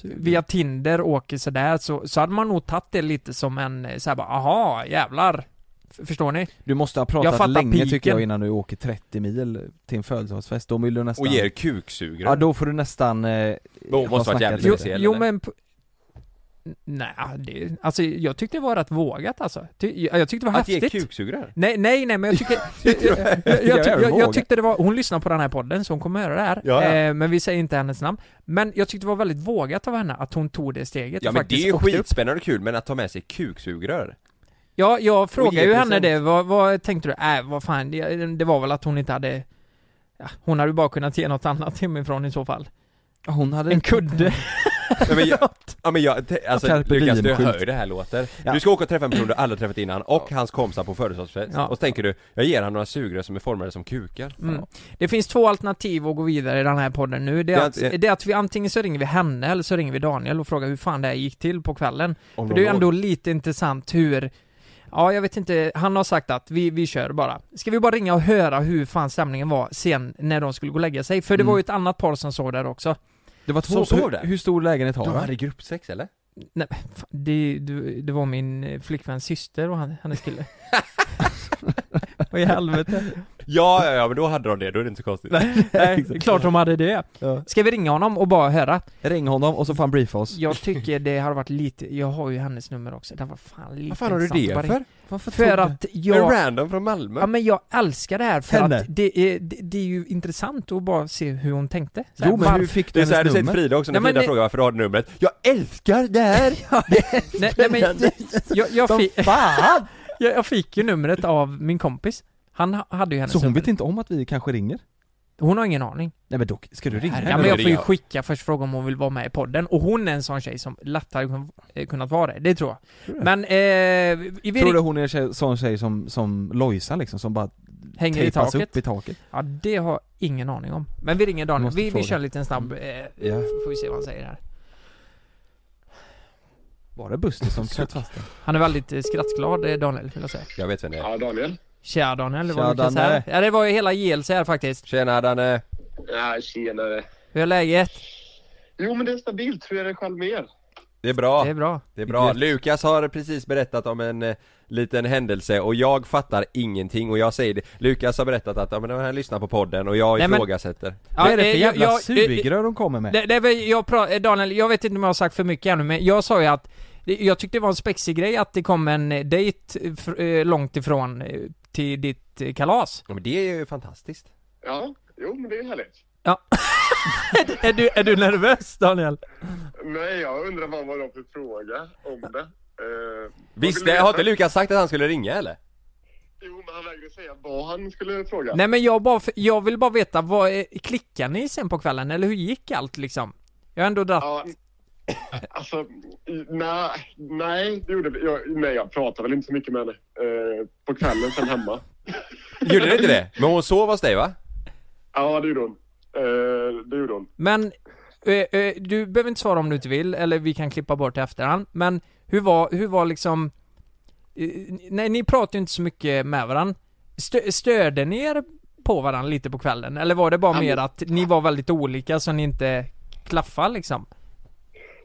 via Tinder åker sådär så, så hade man nog tagit det lite som en eh, såhär bara, aha, jävlar. F- Förstår ni?
Du måste ha
Jag fattar
pratat länge tycker
piken.
jag innan du åker 30 mil till en födelsedagsfest, då vill du nästan...
Och ger kuksugrör.
Ja då får du nästan... Eh,
Men hon
ha
måste varit
snackat
jävligt
lite.
Jo,
speciell,
jo
eller?
men... p- Nej, det, alltså jag tyckte det var rätt vågat alltså. Ty, jag tyckte det var
att ge
häftigt.
kuksugrör?
Nej, nej, nej, men jag tycker... jag, jag, jag,
Jag
jag, jag,
vågar.
jag tyckte det var... Hon lyssnar på den här podden, så hon kommer höra det här.
Ja, ja.
Eh, men vi säger inte hennes namn. Men jag tyckte det var väldigt vågat av henne att hon tog det steget
Ja
och
men det
faktiskt
är ju
åkte upp.
skitspännande och kul men att ta med sig kuksugrör.
Ja, jag frågade
ge
ju henne
present.
det. Vad, vad tänkte du? Äh, vad fan, det, det var väl att hon inte hade... Ja, hon hade ju bara kunnat ge något annat hemifrån i så fall.
Ja, Hon hade...
En kudde.
Ja men jag, ja, men jag te- alltså
Carpe
Lukas du
diem-skylt.
hör ju det här låter.
Ja.
Du ska åka och träffa en person du aldrig träffat innan och hans kompisar på födelsedagsfest.
Ja.
Och så tänker du, jag ger han några sugrör som är formade som kukar.
Mm. Det finns två alternativ att gå vidare i den här podden nu. Det
Det
är
är
att,
inte-
det är att vi antingen så ringer vi henne eller så ringer vi Daniel och frågar hur fan det här gick till på kvällen.
Om
För
de
det är ju
låg-
ändå lite intressant hur Ja, jag vet inte. Han har sagt att vi, vi kör bara. Ska vi bara ringa och höra hur fan stämningen var sen när de skulle gå och lägga sig? För det
Mm.
var ju ett annat par som såg där också.
Det var
Som
två
sov
hur,
där?
hur stor lägenhet har
De
han?
hade gruppsex eller?
Nej, men fan, det, du, det var min eh, flickväns syster och han, hennes kille. Vad i helvete?
Ja, ja, ja men då hade de det, då är det inte så konstigt
Nej, det är klart de hade det.
Ja.
Ska vi ringa honom och bara höra?
Ring honom och så får han briefa oss.
Jag tycker det har varit lite, jag har ju hennes nummer också, det var fan lite
Vad fan har du
intressant
det
att bara
för?
ringa.
Varför
För att
En
jag,
random från Malmö?
ja men jag älskar det här för
Henne.
att det är, det, det är ju intressant att bara se hur hon tänkte. Så här,
Jo men
varför-
hur fick
Det
du
är så här du
hennes
säger till
nummer?
Frida också när
Nej, men
Frida
det-
frågar varför du har numret Jag älskar det här!
nej, nej, men, jag, jag, fick,
Fan!
jag, jag fick ju numret av min kompis. Han ha- hade ju hennes
Så hon
nummer.
vet inte om att vi kanske ringer?
Hon har ingen aning.
Nej men dock, ska du ringa
Ja,
men
men
då
jag
är
får ju
det-
skicka först fråga om hon vill vara med i podden och hon är en sån tjej som lätt hade kun- eh, kunnat vara det, det tror jag.
Tror du?
Men eh, vi vi
Tror du hon är en tjej- sån tjej som, som Lojsan liksom, som bara
hänger i
tejpas
taket.
upp i taket?
Ja, det har jag ingen aning om. Men vi ringer Daniel,
Måste
vi, vi
fråga.
kör en liten snabb, eh, får vi se vad han säger här.
Var det Buster som knöt fast den?
Han är väldigt eh, skrattglad eh, Daniel, vill jag säga.
Jag vet vem det är
Ja, Daniel.
Tja Daniel, det var
Tja,
Lukas
Danne.
här. Ja det var ju hela JLC här faktiskt.
Tjena Danne!
Ja, tjenare.
Hur är läget?
Jo, men det är stabilt. Hur är det själv med er?
Det är bra!
Det är bra.
Det är bra. Lukas har precis berättat om en eh, liten händelse och jag fattar ingenting och jag säger det. Lukas har berättat att ja, men han lyssnar på podden och jag
Nej, men-
ifrågasätter.
Ja,
Vad är det för
eh,
jävla
jag- jag-
sugrör de kommer med?
Det, det, är väl- jag pra, eh, Daniel, jag vet inte om jag har sagt för mycket ännu men jag sa ju att det- jag tyckte det var en spexig grej att det kom en eh, dejt eh, fr- eh, långt ifrån eh, till ditt eh, kalas.
Ja, men det är ju fantastiskt.
Ja, jo, men det är härligt.
är, du, är du nervös Daniel?
Men jag undrar vad var det för fråga om det? Eh, vad vill
Visst,
du
har inte
veta?
Lukas sagt att han skulle ringa eller?
Jo, men han vägrade säga vad han skulle fråga.
Nej men jag, bara, jag vill bara veta, vad, eh, klickade ni sen på kvällen eller hur gick allt liksom? Jag har ändå dratt...
Ja, alltså, i- nej, nej, det gjorde vi. Jag, nej, jag pratade väl inte så mycket med henne eh, på kvällen sen hemma.
Gjorde det inte det? Men hon sov hos dig va?
Ja, det gjorde hon. Eh, det gjorde hon.
Men, eh, eh, du behöver inte svara om du inte vill, eller vi kan klippa bort i efterhand. Men hur var, hur var liksom... eh, nej, ni pratade ju inte så mycket med varandra. Stö, störde ni er på varandra lite på kvällen? Eller var det bara
Ja,
mer
men-
att ni var väldigt olika så ni inte klaffade liksom?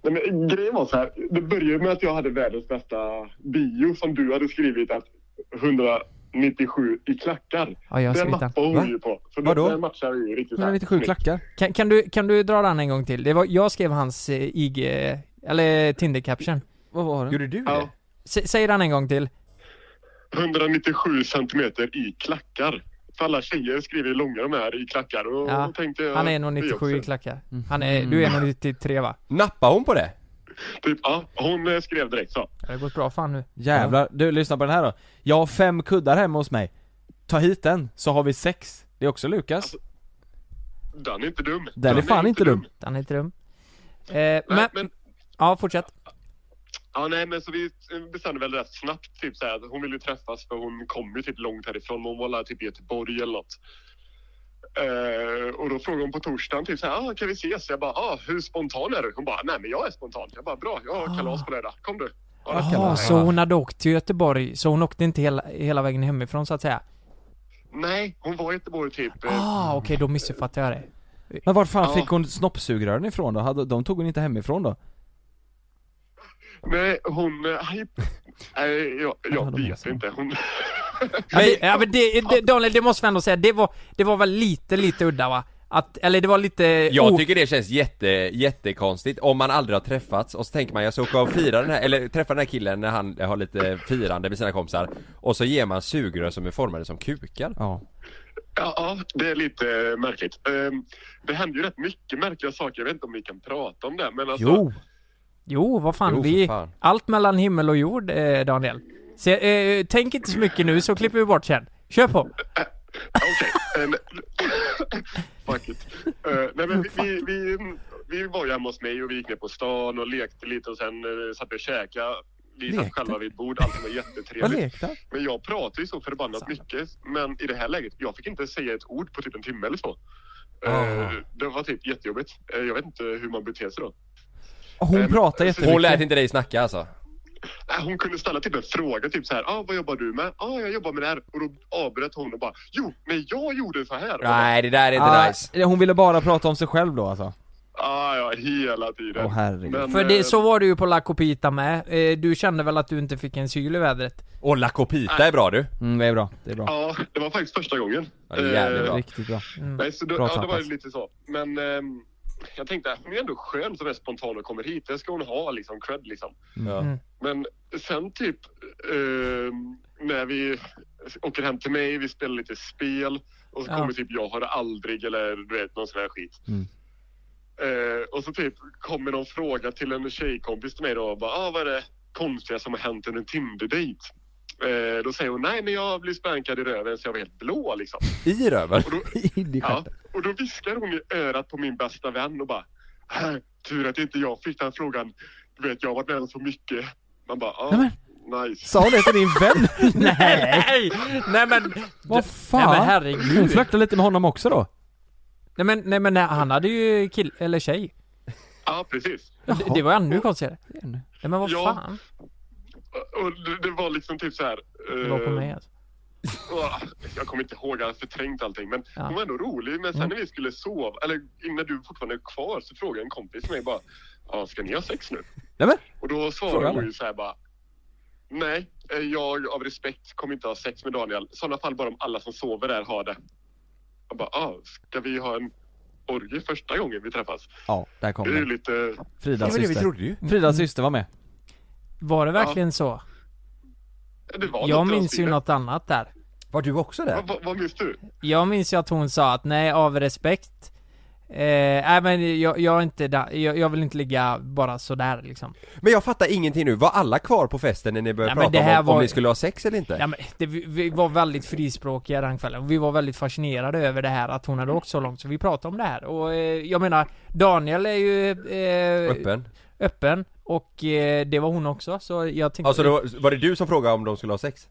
Nej, men grejen var så här. Det började med att jag hade världens bästa bio som du hade skrivit att 197 i klackar.
Ja, jag har
den
skrivit den.
mappar hon ju på. Så
Vadå?
Vadå? Den matchar ju riktigt så här
197
snyggt.
klackar.
Kan, kan, du, kan du dra den en gång till? Det var, jag skrev hans eh, IG... Eller Tinder-caption.
Vad var den?
Gjorde du det?
Ja.
S- säg den en gång till.
197 centimeter i klackar. För alla tjejer skriver ju långa de här i klackar. Och
Ja,
då tänkte jag,
Han är nog
det
97 i
också.
klackar. Han är, du är nog 93 va?
Nappade hon på det?
Typ, ja, hon eh, skrev direkt så.
Det har gått bra fan nu.
Jävlar, du lyssna på den här då. Jag har fem kuddar hemma hos mig. Ta hit den, så har vi sex. Det är också
Alltså,
Lukas.
Den är inte dum.
Den är fan inte dum.
Han är inte dum. Eh,
Nej,
men,
men,
ja fortsätt.
ja, nej, men så vi eh, bestämde väl rätt snabbt typ så här, att hon ville ju träffas för hon kom ju typ långt härifrån. Hon var där, typ i Göteborg eller något. Eh, och då frågade hon på torsdagen typ så här, ah, kan vi ses? Jag bara, ah, hur spontan är du? Hon bara, nej men jag är spontan. Jag bara, bra, jag har kalas på lördag. Kom du. Ja,
Jaha, så hon hade åkt till Göteborg, så hon åkte inte hela, hela vägen hemifrån så att säga?
Nej, hon var i Göteborg typ. eh,
Ah, okej då missuppfattade jag det.
Men var fan
Ja.
fick hon snoppsugrören ifrån då? Hade- De tog hon inte hemifrån då?
Nej, hon... eh, haj- Nej, jag, jag vet inte. Hon...
Men, ja, men det, det, Daniel, det måste vi ändå säga, det var, det var väl lite, lite udda va? Att, eller det var lite...
Jag
o-
tycker det känns jätte, jättekonstigt om man aldrig har träffats och så tänker man jag ska åka och fira den här, eller träffa den här killen när han har lite firande med sina kompisar och så ger man sugrör som är formade som kukar.
Ja.
Ja, ja, det är lite eh, märkligt. Ehm, Det händer ju rätt mycket märkliga saker. Jag vet inte om vi kan prata om det. Men alltså,
Jo!
Jo, vad fan,
Jo, för
vi...
fan.
Allt mellan himmel och jord, eh, Daniel. Se, eh, tänk inte så mycket nu så klipper vi bort sen. Kör på!
Okej. ehm, Fuck it. Eh, Nej, men vi, vi, vi, vi var ju hemma hos mig och vi gick ner på stan och lekte lite och sen eh, satt vi och käkade. Vi satt själva vid ett bord. Allt var
Vad
jättetrevligt.
lekte han?
Men jag pratade ju så förbannat mycket. Men i det här läget, jag fick inte säga ett ord på typ en timme eller så. Eh,
Ah.
Det var typ jättejobbigt. Eh, Jag vet inte hur man beter sig då.
Hon pratar
Hon lät
jättemycket.
inte dig snacka alltså?
Nej, Hon kunde ställa typ en fråga, typ så här, ah, vad jobbar du med? Ah, jag jobbar med det här. Och då avbröt hon och bara, jo, men jag gjorde så här. Och jag bara,
Nej det där är inte
Ah,
nice.
Hon ville bara prata om sig själv då alltså.
Ja, Ah, ja, hela tiden.
Åh herregud.
Men,
För det,
eh,
så var det ju på La Copita med. Eh, Du kände väl att du inte fick en syl i vädret?
Och La Copita är bra du!
Mm, det är bra, det är bra.
Ja, det var faktiskt första gången. Eh,
Ja, det är jävligt bra.
Riktigt bra.
Nej, så då,
Bra
ja, det var ju
tappat.
lite så. Men ehm, jag tänkte, hon är ändå skön som är spontan och kommer hit. Det ska hon ha liksom, cred liksom.
Ja.
Men sen typ ehm, när vi åker hem till mig, vi spelar lite spel och så
Ja.
kommer typ jag har det aldrig eller du vet någon sån här skit.
Mm.
Eh, och så typ kommer någon fråga till en tjejkompis till mig då och bara, ah, vad är det konstiga som har hänt under en Tinder-dejt? Eh, då säger hon, nej men jag blev spänkad i röven så jag var helt blå liksom.
I röven!
In i
Ja,
stjärten.
och då viskar hon i örat på min bästa vän och bara "Äh, Tur att inte jag fick den frågan. Du vet, jag har varit med om så mycket. Man bara, ah, nice.
Sa hon det till din vän?
Nej! Nej men...
Vad
Nej men
fan? Hon
herregud.
flörtade lite med honom också då?
Nej men, nej, men nej, han hade ju kill eller tjej.
Ja, precis.
Det, det var ännu konstigare. Nej men vad
Ja.
fan.
Och det, det var liksom typ så här.
Det var på
eh,
mig alltså.
åh, Jag kommer inte ihåg, jag har förträngt allting. Men
Ja.
hon var ändå rolig. Men sen när vi skulle sova, eller innan du fortfarande är kvar, så frågade en kompis mig bara, ja, ska ni ha sex nu?
Nej men!
Och då
Fråga
svarade hon ju så här bara. Nej, eh, jag av respekt kommer inte ha sex med Daniel. I sådana fall bara om alla som sover där har det. Jag bara, ah, ska vi ha en orgie första gången vi träffas?
Ja, där
Det
kom
är ju
den.
lite...
Fridas syster.
ju!
Mm.
Fridas syster var med.
Var det verkligen så?
Det var
Jag
lite
minns ju
avstigen.
något annat där.
Var du också där?
Vad, vad, vad minns du?
Jag minns ju att hon sa att nej, av respekt. Eh, nej men jag, jag är inte där. Jag, jag vill inte ligga bara sådär liksom.
Men jag fattar ingenting nu, var alla kvar på festen när ni började
Nej, men
prata
det här
om,
var-
om ni skulle ha sex eller inte?
Ja, men det, vi, vi var väldigt frispråkiga den kvällen. Vi var väldigt fascinerade över det här att hon hade åkt så långt, så vi pratade om det här. Och eh, jag menar, Daniel är ju eh,
Öppen?
öppen, och eh, det var hon också, så jag tänkte...
Alltså då, var- var det du som frågade om de skulle ha sex?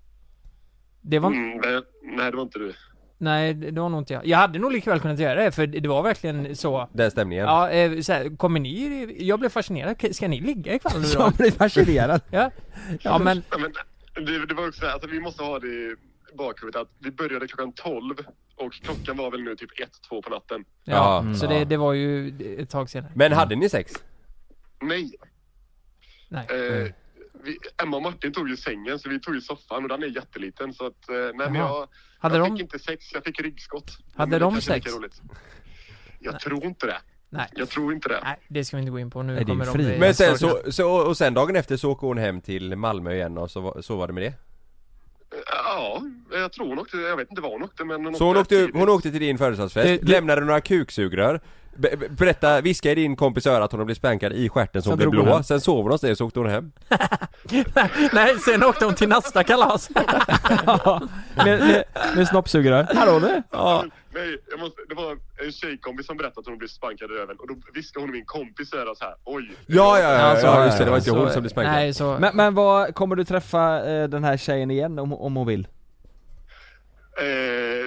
Det var...
Mm, nej, nej, det var inte du.
Nej, det var nog inte jag. Jag hade nog likväl kunnat göra det, för det det var verkligen så...
Den stämningen?
Ja, eh, så här, kommer ni... Jag blev fascinerad. K- Ska ni ligga ikväll nu då?
Som blev fascinerad.
Ja, ja men...
Ja, men det, det var också så här, alltså, vi måste ha det i bakhuvudet att vi började klockan 12 och klockan var väl nu typ 1-2 på natten.
Ja,
Ja,
så
mm,
det,
ja.
det var ju ett tag senare.
Men hade ni sex?
Nej.
Nej. Mm.
Eh, vi, Emma och Martin tog ju sängen så vi tog ju soffan och den är jätteliten så att eh, nej men jag,
Hade
jag
de-
fick inte sex, jag fick ryggskott.
Hade
Men det
de
kanske är lika
sex?
roligt. Jag tror inte det.
Nej.
Jag tror inte det.
Nej, det ska vi inte gå in på nu.
Nej, det är ju
kommer de eh,
fri.
bli-
Men sen så, så, och sen dagen efter så åker hon hem till Malmö igen och så, var- så var det med det?
Ja, jag tror hon åkte, jag vet inte var hon åkte men hon
Så hon åkte,
tidigt.
hon åkte till din födelsedagsfest,
Det- det-
lämnade några kuksugrör be- be- Berätta, viska i din kompis öra att hon har blivit spänkad i stjärten så hon
Sen
blev
drog hon
blå,
hem.
sen sov hon hos dig och så åkte hon hem
Nej, sen åkte hon till nästa kalas.
Med, med, med snoppsugrör. Hallå du!
Ja,
Nej, jag måste, det var en tjejkompis som berättade att hon blev spankad i röven och då viskade hon i min kompis öra så här. Oj.
ja, ja, ja,
så-
ja just det, det var inte
Så-
hon som blev spankad
Nej, så...
Men, men vad, kommer du träffa eh, den här tjejen igen om, om hon vill?
Eh,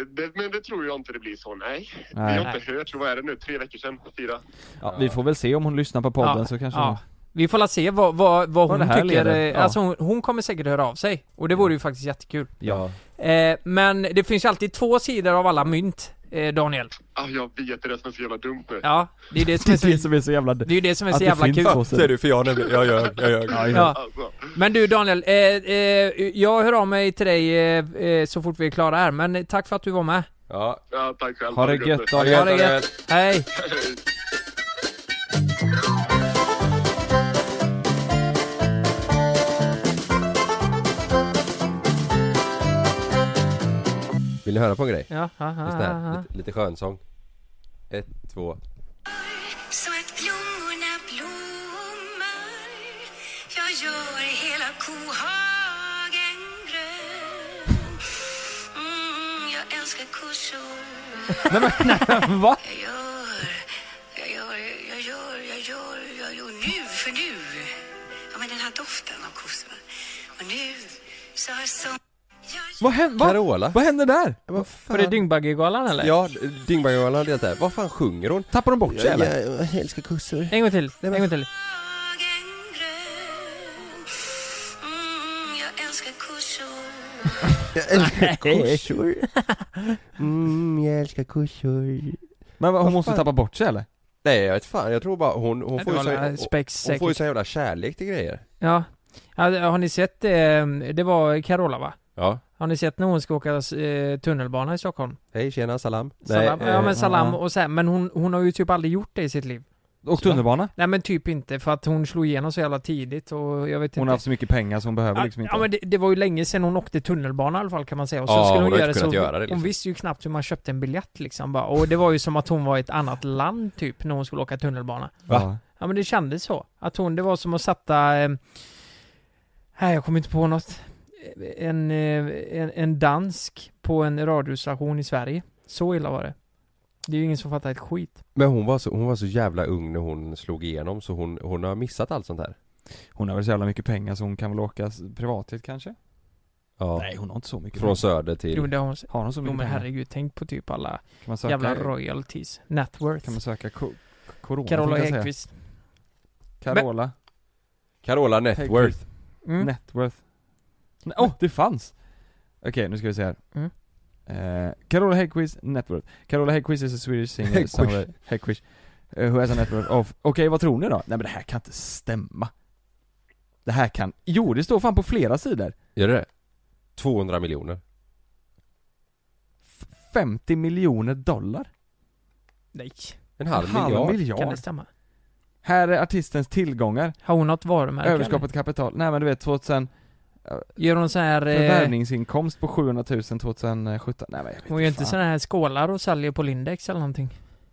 det, men det tror jag inte det blir så, nej.
Nej.
Vi har inte hört, vad är det nu, tre veckor sedan? Fyra?
Ja, vi får väl se om hon lyssnar på podden så kanske hon...
Vi får la se vad, vad, vad
Vad
hon
det här
tycker.
leder.
eh,
Ja.
Alltså hon, hon kommer säkert höra av sig. Och det vore ju faktiskt jättekul.
Ja,
Eh, men det finns ju alltid två sidor av alla mynt, eh, Daniel.
Ah, jag vet, det är det som är så jävla dumt nu.
Ja, det är det som är
Det är det
så,
som är så jävla...
det är ju det som är
att
så
det
jävla
finns
kul.
så-
ja ser du, för jag nämligen, jag ljög, jag ljög
Ja,
Ja.
Alltså,
Men du Daniel, eh, eh, jag hör av mig till dig eh, eh, så fort vi är klara här. Men tack för att du var med.
Ja,
ja, tack själv.
ha det
nu.
gött
Ha det
Daniel.
gött.
Hej!
vill ni höra på en grej?
Ja, ha, ha,
Lyssna
ha,
här,
ha.
lite, lite skönsång Ett, två
Så att blommorna blommar Jag gör hela kohagen grön mm, Jag älskar kossor
Va?
Jag gör, jag gör, jag gör, jag gör, jag gör nu för nu Ja men den här doften av kossorna Och nu så har som jag
Vad hände? Va?
Carola?
Vad hände där?
Vad
Var det Dyngbaggegalan eller?
Ja, Dyngbaggegalan hade deltagit, vad fan sjunger hon?
Tappar de bort sig eller?
jag älskar kossor
En gång till, en gång till.
hagen grön mm, Jag älskar kossor
Kossor Mm, jag älskar kossor
Men vad, hon måste tappa bort sig eller?
Nej jag vet fan, jag tror bara hon, hon
Ja,
får
det
ju
var
sån,
alla
hon,
spex
hon får ju
säkert.
sån jävla kärlek till grejer
Ja. Ja, Har ni sett, eh, det var Carola va?
Ja
Har ni sett när hon ska åka eh, tunnelbana i Stockholm?
Hej tjena salam
Salam.
Nej,
ja
eh,
men Salam
ja.
och så här, men hon, hon har ju typ aldrig gjort det i sitt liv.
Och tunnelbana.
Nej men typ inte, för att hon slog igenom så jävla tidigt och jag vet
Hon
inte.
har haft så mycket pengar så hon behöver
Typ. Ja,
liksom inte.
Ja men det, det var ju länge sedan hon åkte tunnelbana i alla fall kan man säga. Och så
Ja,
skulle hon,
hon har
göra
inte
så,
kunnat göra det, liksom.
Hon visste ju knappt hur man köpte en biljett liksom bara. Och det var ju som att hon var i ett annat land typ när hon skulle åka tunnelbana.
Va?
Ja men det kändes så. Att hon, det var som att sätta... Eh, nej jag kommer inte på något. En, eh, en, en dansk på en radiostation i Sverige. Så illa var det. Det är ju ingen som fattar ett skit.
Men hon var, så, hon var så jävla ung när hon slog igenom så hon, hon har missat allt sånt här
Hon har väl så jävla mycket pengar så hon kan väl åka s- privatjet kanske?
Ja
Nej hon har inte så mycket
Från
pengar.
söder till
Jo, det har hon, s-
Har hon så
jo
mycket
men
pengar?
herregud, tänk på typ alla
Kan man söka,
jävla royalties. Net worth.
kan man söka ko- corona?
Carola
tänkte jag säga.
Häggkvist.
Carola.
Carola Networth
Mm.
Networth. Nej, Åh, oh, det fanns! Okej, nu ska vi se här.
Mm.
Eh, Carola Häggkvist, Networth. Carola Häggkvist is a Swedish singer,
Häggkvist.
songwriter, Häggkvist, eh, who has a network of... Okej, vad tror ni då? Nej men det här kan inte stämma. Det här kan... Jo, det står fan på flera sidor.
Gör det det? 200 miljoner
F- 50 miljoner dollar.
Nej,
En halv, miljard
kan det stämma?
Här är artistens tillgångar,
Har hon något varumärke?
överskapet kapital. Nej men du vet, 2000...
eller? Gör hon så här... Eh,
Förvärvningsinkomst på 700 000 2017. Nej men jag vet
hon gör inte
fan.
såna här skålar och säljer på Lindex eller någonting.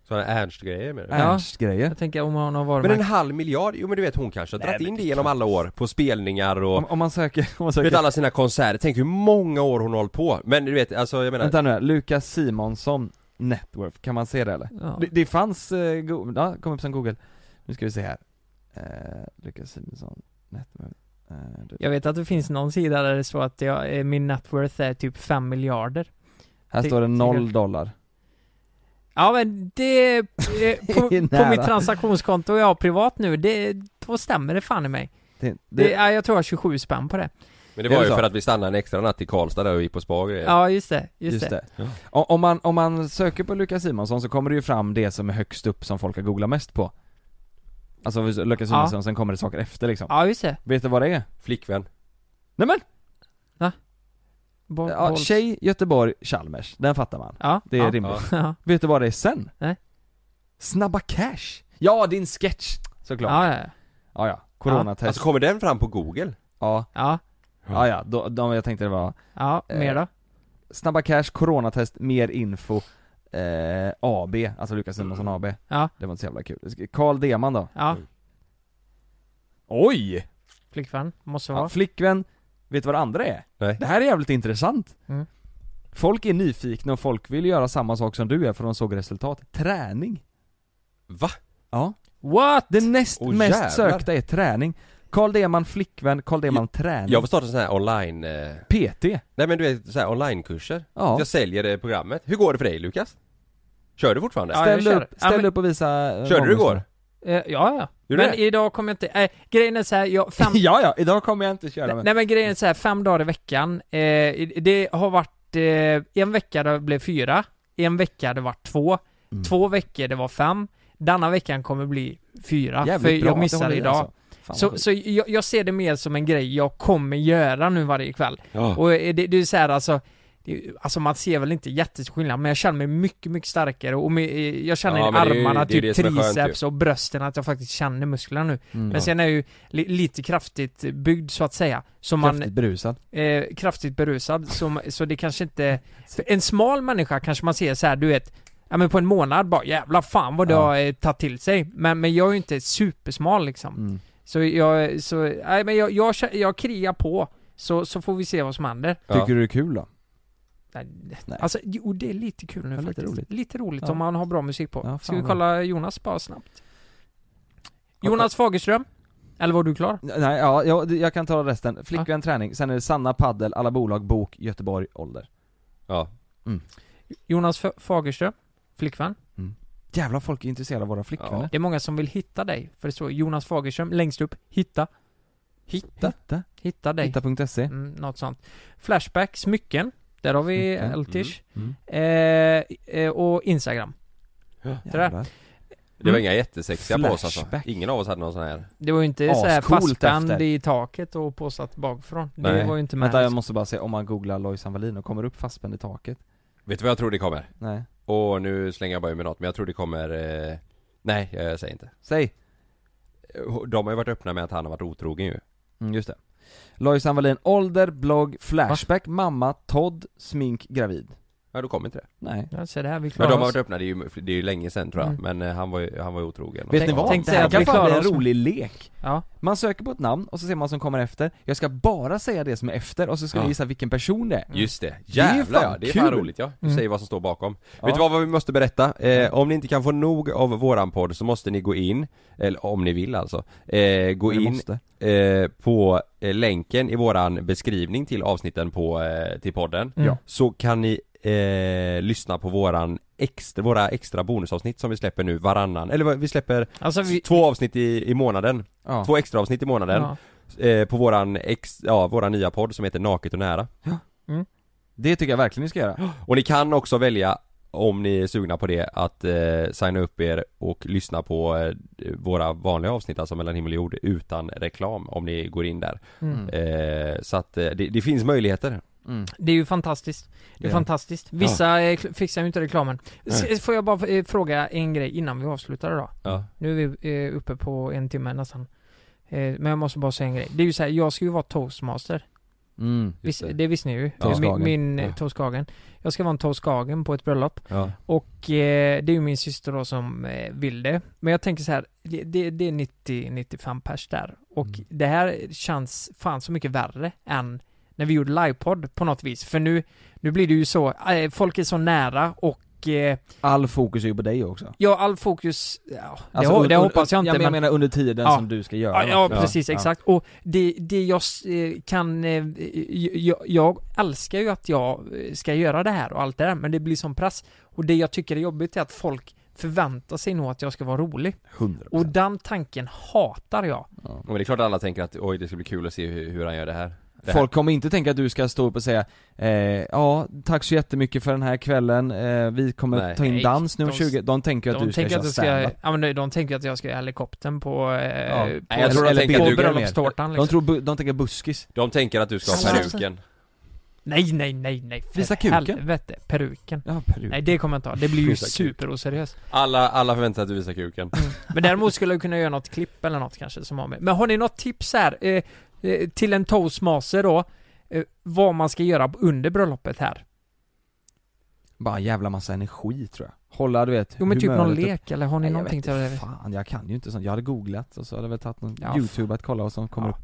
Sådana Ernst-grejer
Äh,
med det
Ja.
Ernst-grejer.
Jag tänker om hon har
Men en
varumärke.
halv miljard? Jo men du vet hon kanske har
Nej,
dragit
men
in
det
det
är
genom alla år på spelningar och
Om, om man söker... Om man
Du
söker
vet alla sina konserter, tänk hur många år hon har hållit på Men du vet, alltså jag menar
Vänta nu, här, Lukas Simonsson Networth, kan man se det eller?
Ja.
Det, det fanns, eh, go- ja, kom upp som google Nu ska vi se här eh, Lukas Simonsson Networth eh, du-
Jag vet att det finns någon sida där det står att jag, eh, min net worth är typ 5 miljarder.
Här
ty-
står det
tycker-
noll dollar
Ja men det... Eh, på,
Det är
på
nära.
mitt transaktionskonto jag har privat nu, det, då stämmer det fan i mig.
det,
Det,
det,
ja, jag tror jag har 27 spänn på det.
Men det
Är
var
det
ju
så?
för att vi stannade en extra natt i Karlstad där och gick på spa och grejer.
Ja, just det. Just,
Just
det.
det. O- Om man, om man söker på Lukas Simonsson så kommer det ju fram det som är högst upp som folk har googlat mest på Alltså om vi- Lukas
Ja.
Simonsson, sen kommer det saker efter liksom
Ja, just det.
Vet du vad det är?
Flickvän.
Nej men!
Bo,
Ja,
bolls.
tjej, Göteborg, Chalmers, den fattar man
Ja.
Det är
ja.
rimligt
Ja.
Vet du vad det är sen?
Nej.
Snabba cash! Ja, din sketch! Såklart. Ja,
Ja, ja,
ja. Alltså, Coronatest.
Alltså kommer den fram på google?
ja,
ja.
ja, ja. Då, då, jag tänkte det var
Ja,
Eh.
mer då?
Snabba cash, coronatest, mer info, eh, AB, alltså Lukas Simonsson AB.
Ja.
Det var inte så jävla kul. Karl Deman då?
Ja,
Oj!
flickvän. Måste vara.
Ja, flickvän, vet du vad det andra är?
Nej.
Det här är jävligt intressant.
Mm.
Folk är nyfikna och folk vill göra samma sak som du är för de såg resultat. Träning.
Va?
Ja.
What?
Det näst
Åh,
mest
jävlar.
sökta är träning. Karl Deman flickvän, Karl Deman träning.
Jag får starta sån här online... Eh...
PT.
Nej men du vet, så här onlinekurser.
Ja.
Jag säljer det programmet. Hur går det för dig Lukas? Kör du fortfarande?
Ja, jag
Ställ,
kör.
upp,
Ja,
ställ
men-
upp och visa... eh,
Körde du igår?
Eh, ja, ja.
Gjorde
men
det?
idag kommer jag inte... Eh, grejen är så här, jag... Fem...
ja, ja, idag kommer jag inte köra men...
Nej men grejen är så här, fem dagar i veckan. Eh, det har varit... Eh, en vecka det blev fyra. En vecka det var två.
Mm.
Två veckor det var fem. Denna veckan kommer bli fyra. för
bra att
jag
det
missade
håller i,
idag.
alltså. Fan,
Så,
vad
så jag, jag ser det mer som en grej jag kommer göra nu varje kväll. Och eh, det, det är så här alltså, det, alltså man ser väl inte jättestor skillnad men jag känner mig mycket, mycket starkare och med, eh, jag känner
Ja,
i
men det är ju-
armarna,
det är
typ
det som är skönt ju.
triceps och brösten att jag faktiskt känner musklerna nu.
Mm.
Men sen är jag ju li, lite kraftigt byggd så att säga. Så
man...
man,
Kraftigt berusad.
eh, kraftigt berusad, så, så det kanske inte... För en smal människa kanske man ser så här, du vet, ja men på en månad bara jävla fan vad det
Ja.
har eh, tagit till sig. Men, men jag är ju inte supersmal liksom.
Mm.
Så jag, så, nej men jag, jag, kä- jag kriar på, så, så får vi se vad som händer.
Ja.
Tycker du det är kul då?
Nej.
Nej.
Alltså, jo det är lite kul nu
Ja, lite
faktiskt.
roligt.
Lite roligt
Ja.
om man har bra musik på.
Ja, fan
Ska vi
vad-
kolla Jonas bara snabbt? Jonas Fagerström? Eller var du klar?
Nej, ja, jag, jag kan ta resten. Flickvän, träning, sen är det Sanna, paddel, alla bolag, bok, Göteborg, ålder.
Ja.
Jonas F- Fagerström? Flickvän?
Jävlar folk är intresserade av våra flickvänner.
Det är många som vill hitta dig, för det står Jonas Fagerström längst upp, hitta,
Hitta?
Hitta. E.
hitta dig.
Hitta.se.
Mm, något sånt. Flashback, smycken. Där har vi
Smycken,
Eltish.
mm,
Eh, eh, och Instagram.
Jävlar.
Det var
Mm.
inga jättesexiga på oss alltså.
Flashback.
Ingen av oss hade någon sån här
Det var ju inte så här
Ascoolt
fastspänd
efter.
i taket och påsatt bakifrån. Det
Nej.
var ju inte med.
Vänta jag måste bara se om man googlar Lojsan Wallin och kommer upp fastspänd i taket.
Vet du vad jag tror det kommer?
Nej.
Och nu slänger jag bara ur mig något men jag tror det kommer eh... Nej jag säger inte Eh,
Säg!
De har ju varit öppna med att han har varit otrogen ju
Mm, just det. Lojsan Wallin, ålder, blogg, flashback, mamma, Todd, smink, gravid.
Ja då kommer inte det
Nej.
Ja, så det här, vi
Men
klarar
de har varit
oss.
öppna, det är ju, det är ju länge sedan tror jag
Mm.
Men eh, han var ju, han var ju otrogen
Vet
Tänk-
ni vad?
tänk
det
dig
här
att
kan
vi
fan bli
klarar
en
oss-
rolig lek.
Ja.
Man söker på ett namn och så ser man vad som kommer efter. Jag ska bara säga det som är efter och så ska
Ja.
ni gissa vilken person det är.
Just det,
Mm. Det är ju
jävlar
fan
ja, det är fan
kul.
roligt ja. Du
Mm.
säger vad som står bakom.
Ja.
Vet du vad, vad vi måste berätta? Eh, om ni inte kan få nog av våran podd så måste ni gå in, eller om ni vill alltså, eh, gå
Ni
in
måste.
eh, på eh, länken i våran beskrivning till avsnitten på, eh, till podden.
Mm. Ja.
Så kan ni eh, lyssna på våran extra, våra extra bonusavsnitt som vi släpper nu varannan, eller vad- vi släpper
Alltså vi...
två avsnitt i, i månaden.
Ja.
Två extra avsnitt i månaden.
Ja.
Eh, på våran, ex, ja, våran nya podd som heter Naket och nära.
Mm. Det tycker jag verkligen ni ska göra.
Och ni kan också välja om ni är sugna på det att eh, signa upp er och lyssna på eh, våra vanliga avsnitt alltså mellan himmel och jord utan reklam om ni går in där.
Mm.
Eh, så att eh, det, det finns möjligheter.
Mm.
Det är ju fantastiskt. Det är
Ja.
fantastiskt. Vissa eh, kl- fixar ju inte reklamen. S- Får jag bara eh, fråga en grej innan vi avslutar idag?
Ja.
Nu är vi eh, uppe på en timme nästan. Eh, Men jag måste bara säga en grej. Det är ju så här, jag ska ju vara toastmaster.
Mm.
Vis,
det.
det. visste ni ju.
Toast
Min,
Hagen.
min
Ja.
ja. toastkagen. Jag ska vara en toastkagen på ett bröllop.
Ja.
Och eh, det är ju min syster då som eh, vill det. Men jag tänker så här, det, det, det är 90-95 pers där. Och
Mm.
det här känns fan så mycket värre än när vi gjorde livepodd på något vis. För nu, nu blir det ju så, eh, folk är så nära och eh,
All fokus är ju på dig också.
ja, all fokus, ja,
Alltså,
det, ho-
un-
det
un-
hoppas jag
ja,
inte.
men jag
men,
menar under tiden
Ja.
som du ska göra
ja, ja,
något.
precis,
Ja.
exakt. Och det, det jag s- eh, kan, eh, j- jag, jag älskar ju att jag eh, ska göra det här och allt det där, men det blir som press. Och det jag tycker är jobbigt är att folk förväntar sig nog att jag ska vara rolig.
100%.
Och den tanken hatar jag.
Men det är klart att alla tänker att oj det ska bli kul att se hur, hur han gör det här. Det här.
Folk kommer inte tänka att du ska stå upp och säga eh, Ja, tack så jättemycket för den här kvällen, eh, vi kommer
Nej.
ta in
Nej,
dans nu om
de-
20 De tänker att
De
du ska
tänker
köra
att, jag ska,
stand-up
ja, men nej, de tänker att jag ska i helikoptern på, eh,
Ja.
på,
Nej, jag tror de
eller
tänker att
på
du går ner.
bröllopstårtan
De,
liksom.
tror, bu- de tänker buskis
De tänker att du ska ha
Alltså,
peruken.
Nej, nej, nej, nej. för
Visa kuken.
Helvete, peruken.
Ja,
Nej det kommer jag inte ha, det blir ju
Visa kuken.
superoseriöst.
Alla, alla förväntar sig att du visar kuken.
Men däremot skulle jag kunna göra något klipp eller något kanske som har med. Men har ni något tips här? Eh, eh, till en toastmaster då? Eh, vad man ska göra under bröllopet här?
Bara en jävla massa energi tror jag Hålla du vet
Jo men typ någon
humöret upp.
lek eller har ni
Nej, jag
någonting
vet
till
inte,
det?
Fan, jag kan ju inte sånt. Jag hade googlat och så hade jag väl tagit någon
Ja,
youtube att kolla vad som kommer
Ja.
upp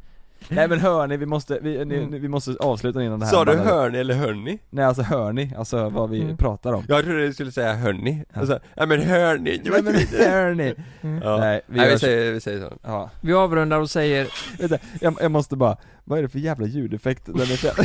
Nej men hör ni, vi måste, vi, ni,
Mm.
ni, vi måste avsluta innan det här
Sa du
ballar ur.
hörni eller hörni?
Nej alltså hör ni, alltså vad vi
Mm.
pratar om
Jag trodde du skulle säga hörni. Och så, nej men hörni, det var
Nej
inte
men
mitt
hör ni!
Ja. Nej,
Nej, vi,
vi,
gör så.
säger, vi säger så.
Ja.
Vi avrundar och säger
Vänta, jag, jag måste bara, vad är det för jävla ljudeffekt? Den är så jävla...